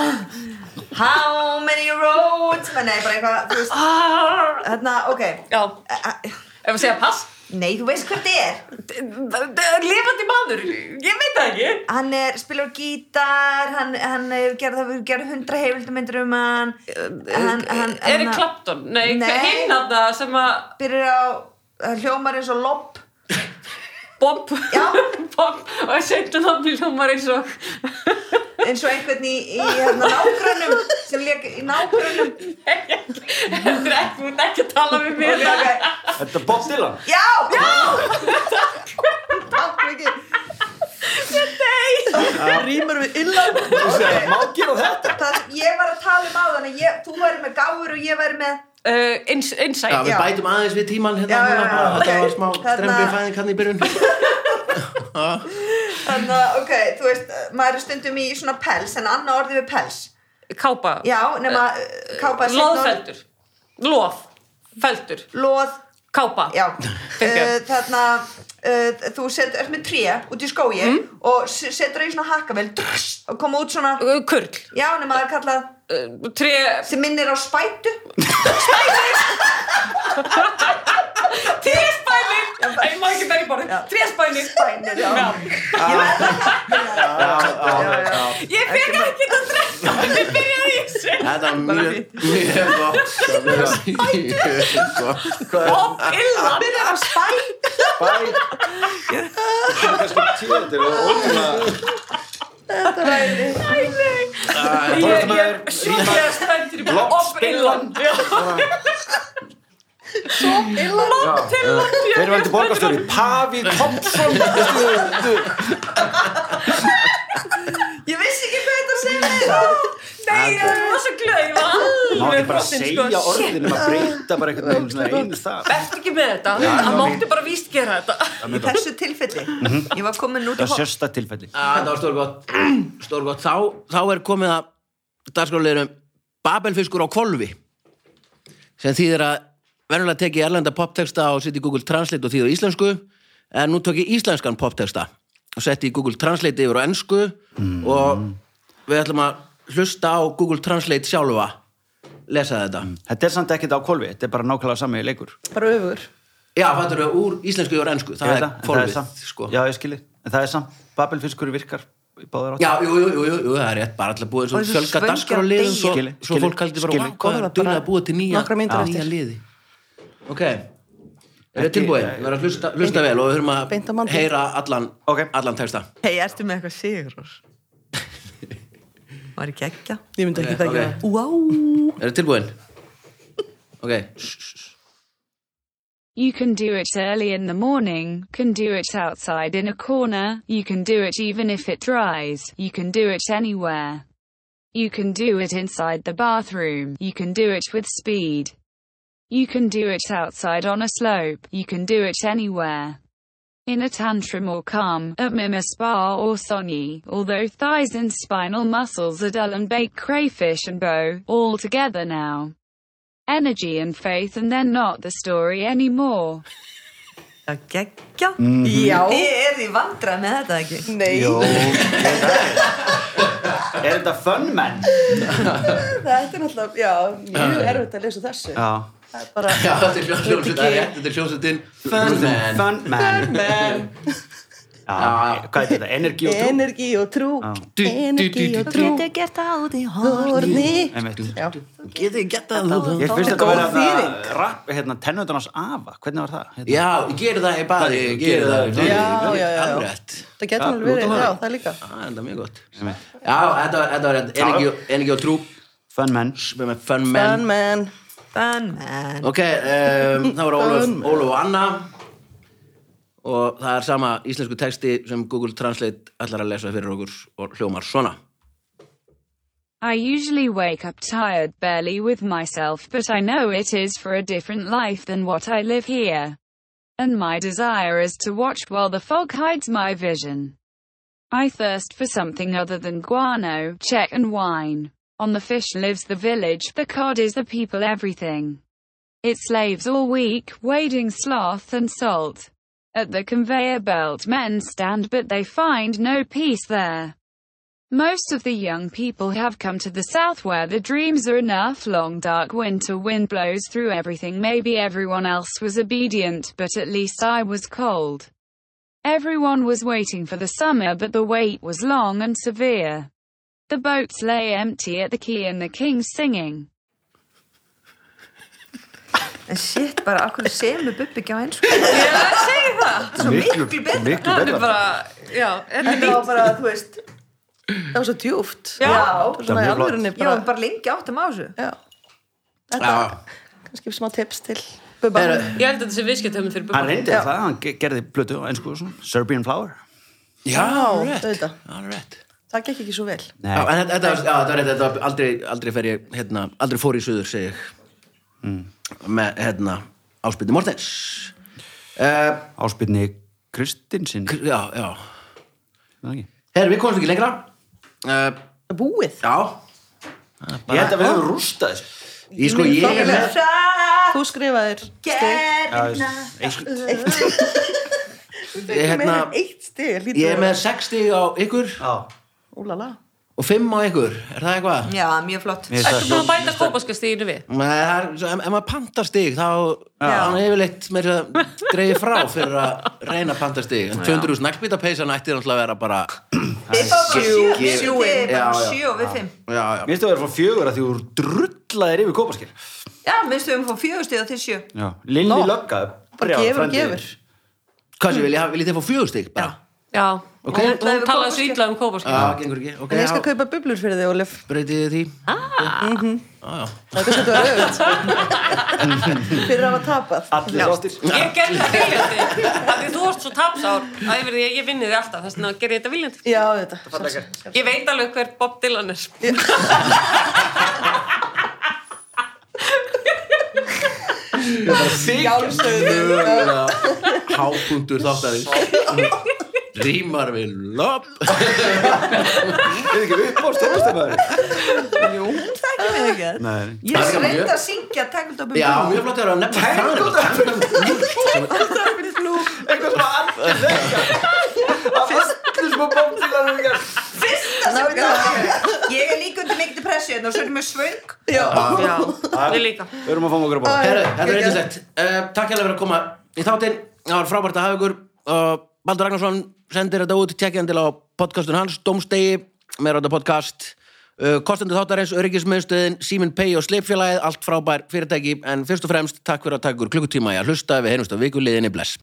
D: How many roads Men Nei, bara eitthvað, þú veist Hérna, ok
E: Ah. Já,
D: A- a-
E: ef að segja pass
D: Nei, þú veist hvað þetta er
E: Lefandi maður, ég veit það ekki
D: Hann er, spilar á gítar Hann, hann er gerð, það hefur gerð hundra heimildamindur um hann Hann, hann,
E: Eric Clapton, nei,
D: Nei.
E: nei. hinn að það sem að
D: Byrjar á hann hljómar eins og lopp
E: Bob, [laughs]
D: Já.
E: Bob og ég seinna nafni hljómar eins og
D: Eins og einhvern í, í hérna, nágrönnum Sem lék í nágrönnum
E: Þetta er ekki, þú ert ekki að tala við mér
D: Ok, ok
B: Þetta er Bob Dylan
D: [laughs] Já, já Takk mikið
C: rýmur við illan
B: Þú segir, má gera þetta
D: Það sem ég var að tala um á þannig ég, Þú væri með gáfur og ég væri með
E: uh, ins, Insight
A: Já, við
D: Já.
A: bætum aðeins við tíman hérna
D: Já, já,
A: núna
D: já,
A: bara,
D: ok. hérna-
A: þetta var smá
D: Þarna-
A: strempið fæðing hann í
D: [laughs]
A: byrjun
D: Þannig að, eh, ok, þú veist, maður er stundum í svona pels, en annað orðið við pels.
E: Kápa
D: Já, nema uh, kápa er seinna orð.
E: Lóðfeldur Lóð, feldur,
D: Lóð,
E: kápa
D: já.
E: Fyrirgefðu.
D: Uh, þannig að uh, þú set, ert með tré út í skói og s- setur það í svona hakkavel drss, og koma út svona,
E: Uh, Kurl,
D: já, nema það er kallað,
E: uh, tre,
D: sem minnir á spætu.
E: tréspænir Ég má ekki berja borðið, tréspænir
D: Spænir, já.
E: Já. Ég fekk ekki að drekka Ég byrjaði í þessu
A: Þetta var mjög, mjög
D: [laughs]
A: gott Það var Mjög gott
E: Bob Illan
D: Minnir á spætu.
B: Bæ Það er kannski tíðandir og ótrúna
E: Ég ég er sjúklega spenntur í bara Bob Illan
C: Mm.
E: Bob Illan Ég er
B: Fyrirvændi borgarstjóri, Pavi Thompson Veistu, þú-
D: Ég vissi ekki hvað þetta segir.
E: Nei, ég er rosa glöð, ég var alveg
B: Má ekki bara
E: brotin,
B: segja
E: sko.
B: orðin um að breyta bara einhvern veginn svona einu stað
E: Vertu ekki með þetta, hann mátti bara víst gera þetta
D: Í þessu tilfelli. Ég var komin út í
B: Það er
D: hótt.
B: sérsta tilfelli
A: Já, Þetta var stórgott Stórgott, þá, þá er komið að dagskráleginum Babelfiskur á kolvi sem þýðir að verðurlega tekið erlenda poptexta og setja í Google Translate og þýðir á íslensku en nú tók ég íslenskan poptexta og setti í Google Translate yfir á ensku og við ætlum að hlusta á Google Translate sjálfa lesa þetta
B: Þetta er samt ekkert á kolvi, þetta er bara nákvæmlega sami leikur
C: bara öfur
A: Já, fattur við úr íslensku yfir á ensku
B: Ég
A: það
B: veit
A: er
B: en það er
A: kolvið,
B: samt,
A: sko
B: Já, ég skilji, en það er samt Babelfiskur virkar í báðar átt
A: Já, jú, jú, jú, jú, jú, það er rétt, bara alltaf búið
D: Og
A: svo
D: þessu
A: fjölga
D: svöngja
A: daskar og liðum
D: degi.
A: svo,
B: Skilji,
A: svo
B: skilji,
A: fólk heldur bara,
B: skilji.
A: "Vá, hvað er
C: Bara
A: að dugna að búa til nýja,
C: nokkrar mínútur
A: nýja
C: eftir.
A: liði Ok, er þetta tilbúið?
B: eh,
A: Við verðum að hlusta, hlusta vel og við höfum
C: Beint á
A: að
C: mandi.
A: heyra allan,
B: Ok.
A: allan texta
D: Hei, ertu með eitthvað sigur? Var ekki ekki?
C: ég myndi ekki
A: Ok.
C: þekka það
A: Er þetta tilbúin? Ok,
G: You can do it early in the morning, can do it outside in a corner, you can do it even if it dries, you can do it anywhere. You can do it inside the bathroom, you can do it with speed. You can do it outside on a slope, you can do it anywhere. In a tantrum or calm, at Mima Spa or Sony, although thighs and spinal muscles are dull and baked crayfish and bow, all together now. Energy and faith and they're not the story anymore.
D: Að gegja?
B: Mhm.
C: já,
D: Ég er því vandrað með þetta ekki.
C: nei,
B: Jó, ég veit það ekki. Er þetta fun menn?
C: þetta er náttúrulega já, mjög erfitt að lesa þessu
B: Já
C: það er bara
A: já, þetta er hljómsveit,
C: Veit
A: það er
C: ekki.
A: rétt, þetta er hljómsveitin
B: Fun
A: Fun Man
B: Fun man
C: Men,
B: Já, Já, hvað er þetta? Energi og trú?
C: Energi og trú
A: Du-
C: Energi
A: du- du-
C: og trú
D: gert það út í
C: Horni
B: Einmitt.
C: Já,
A: Getið ég gett að það?
B: Ég finnst þetta
C: Góð
B: að vera
C: þýðing.
B: rapp, hérna, tennundan hans afa, hvernig var það? Hérna.
A: Já, ég geri það í baði, ég geri það í baði.
C: já, já, já.
A: Alveg rétt.
C: Það getur hann alveg
A: Nota
C: verið,
A: maður.
C: já, það líka
A: Já, þetta er mjög gott. Já, þetta var, þetta var rétt. Energi og- Energi og trú,
B: Fun man.
A: sem er með fun
C: Fun
A: men.
C: man
D: Fun man
A: Ok, um, það var Ólaf,
C: [laughs] Fun men.
A: Ólaf og Anna. Og það er sama íslensku texti sem Google Translate ætlar að lesa fyrir okkur og hljómar svona.
G: I usually wake up tired, barely with myself, but I know it is for a different life than what I live here. And my desire is to watch while the fog hides my vision. I thirst for something other than guano, check and wine. On the fish lives the village, the cod is the people everything. It slaves all week, wading sloth and salt. At the conveyor belt men stand but they find no peace there. Most of the young people have come to the south where the dreams are enough. Long dark winter wind blows through everything. Maybe everyone else was obedient, but at least I was cold. Everyone was waiting for the summer, but the wait was long and severe. The boats lay empty at the quay and the king singing.
D: En shit, bara akkur semur bubbi ekki á eins Þetta
E: Já, segi það.
D: er svo miklu betra
B: miklu
E: Það er
B: betra.
E: bara, já, þetta er
D: Þetta var
E: nýtt.
D: bara, þú veist
C: Það var svo djúft
E: Já.
C: Svona
B: mjög
C: í
B: flott.
C: alvörinni
D: Ég var
C: bara
D: bara lengi áttum á þessu
C: Já Þetta
A: Já.
C: kannski smá tips til Bubba
E: Ég held að þetta sé viðskiptömmin fyrir
B: Hann
E: bubba.
B: reyndi það, hann ge- gerði blötu á einsku og svona, Serbian Flower.
A: Já, rétt.
C: auðvitað.
A: Alveg rétt.
C: Það gekk ekki svo vel
B: Nei,
A: Já, en þetta- þetta var- já, þetta var rétt, þetta var aldrei, aldrei fer ég, hérna, aldrei fór í suður, segi ég. Með, hérna, áspilni Mortens. Uh,
B: áspilni Kristinsin,
A: já, já.
B: það ekki?
A: Herri, við komumst ekki lengra. Uh,
C: Búið
A: já.
B: Ég held að við höfum rústað þessu.
A: Ég sko, ég er með...
C: Þú skrifaðir stig
D: Gerina
A: Ég, hérna,
C: Eitt stig
A: ég er
C: hlýtur
A: með 60 á ykkur
C: Úlala
A: og 5 á ykkur. Er það eitthvað?
D: Já, mjög flott
B: Mér
E: Ertu
B: finnst það-
E: búin að bæta kópaskastíðinu við?
A: Nei, það er, svo, ef, ef maður pantar stig þá er hann yfirleitt með
C: [laughs]
A: þess að dreigja frá fyrir að reyna að panta stig en 200 snakkbýta peysan ætti náttúrulega að vera bara
D: Við fáum bara sjö,
A: Sjö.
D: sjö, við
A: Já,
D: fáum
A: já.
D: sjö og við fimm
A: já, já,
B: Mér finnst það að vera frá fjögur að því þú drullaðir yfir kópaskir.
D: Já, minnstu við fáum fjögur stíð og þið sjö
B: Já, Lilli Lögga,
C: Bara
B: brjál,
C: gefur og
B: frændi.
C: gefur
A: hvað sem vil ég hafa, vil ég þið fá fjögur stig bara?
E: Já,
A: Ok.
E: hún,
D: Ætlaði
E: hún
D: við
E: talaði svo
D: kópaskip.
E: illa um kópaskip.
A: Já, gengur ekki, ok,
C: En ég skal
A: já,
C: kaupa bublur fyrir þig, Ólef
A: breytið þið því ah. já, já,
C: Það er kannski að þetta var auðvitað Fyrir að hafa tapað
B: Allir þáttir.
E: Ég gerði það viljandi, af því þú varst svo tapsár að yfir því að ég vinni þig alltaf, þess vegna gerði ég þetta viljandi.
C: Já, auðvitað
E: Ég veit alveg hver Bob Dylan er. sko.
C: Sjálfsögðu
A: hápunktur
C: [laughs]
A: þáttarins rýmar við lopp
B: Við erum ekki upp á stóðstæmaður.
D: Þekkjum við ekki þetta?
B: Nei,
D: Ég
A: Það er gaman,
D: reyndi
A: ég-
D: að syngja Tangled Up in
A: já,
D: Blue
A: mjög flott að vera að nefna það
B: eitthvað svona allir þekka. Af allir smá bómtilanum ekki.
D: Fyrsta sem við talaðum Ég er líka undir mikið pressu hérna og svo erum við svöng
E: Já, við líka.
B: Við erum að fá okkur að bóða.
A: Herru, þetta er reyndislegt. Uh, takk hérlega fyrir að koma í þáttinn. Það var frábært að hafa ykkur. Uh, Baldur Ragnarsson sendir þetta út, tjekkja endil á podcastun hans, Dómstegi, meðrönda podcast. Uh, kostendur þáttarins, öryggismiðstöðin, Síminn Pay og Sleipfélagið, allt frábær fyrirtæki. En fyrst og fremst, takk fyrir að taka ykkur klukkutíma í að hlusta. Við heyrumst á vikuliðinni, bless.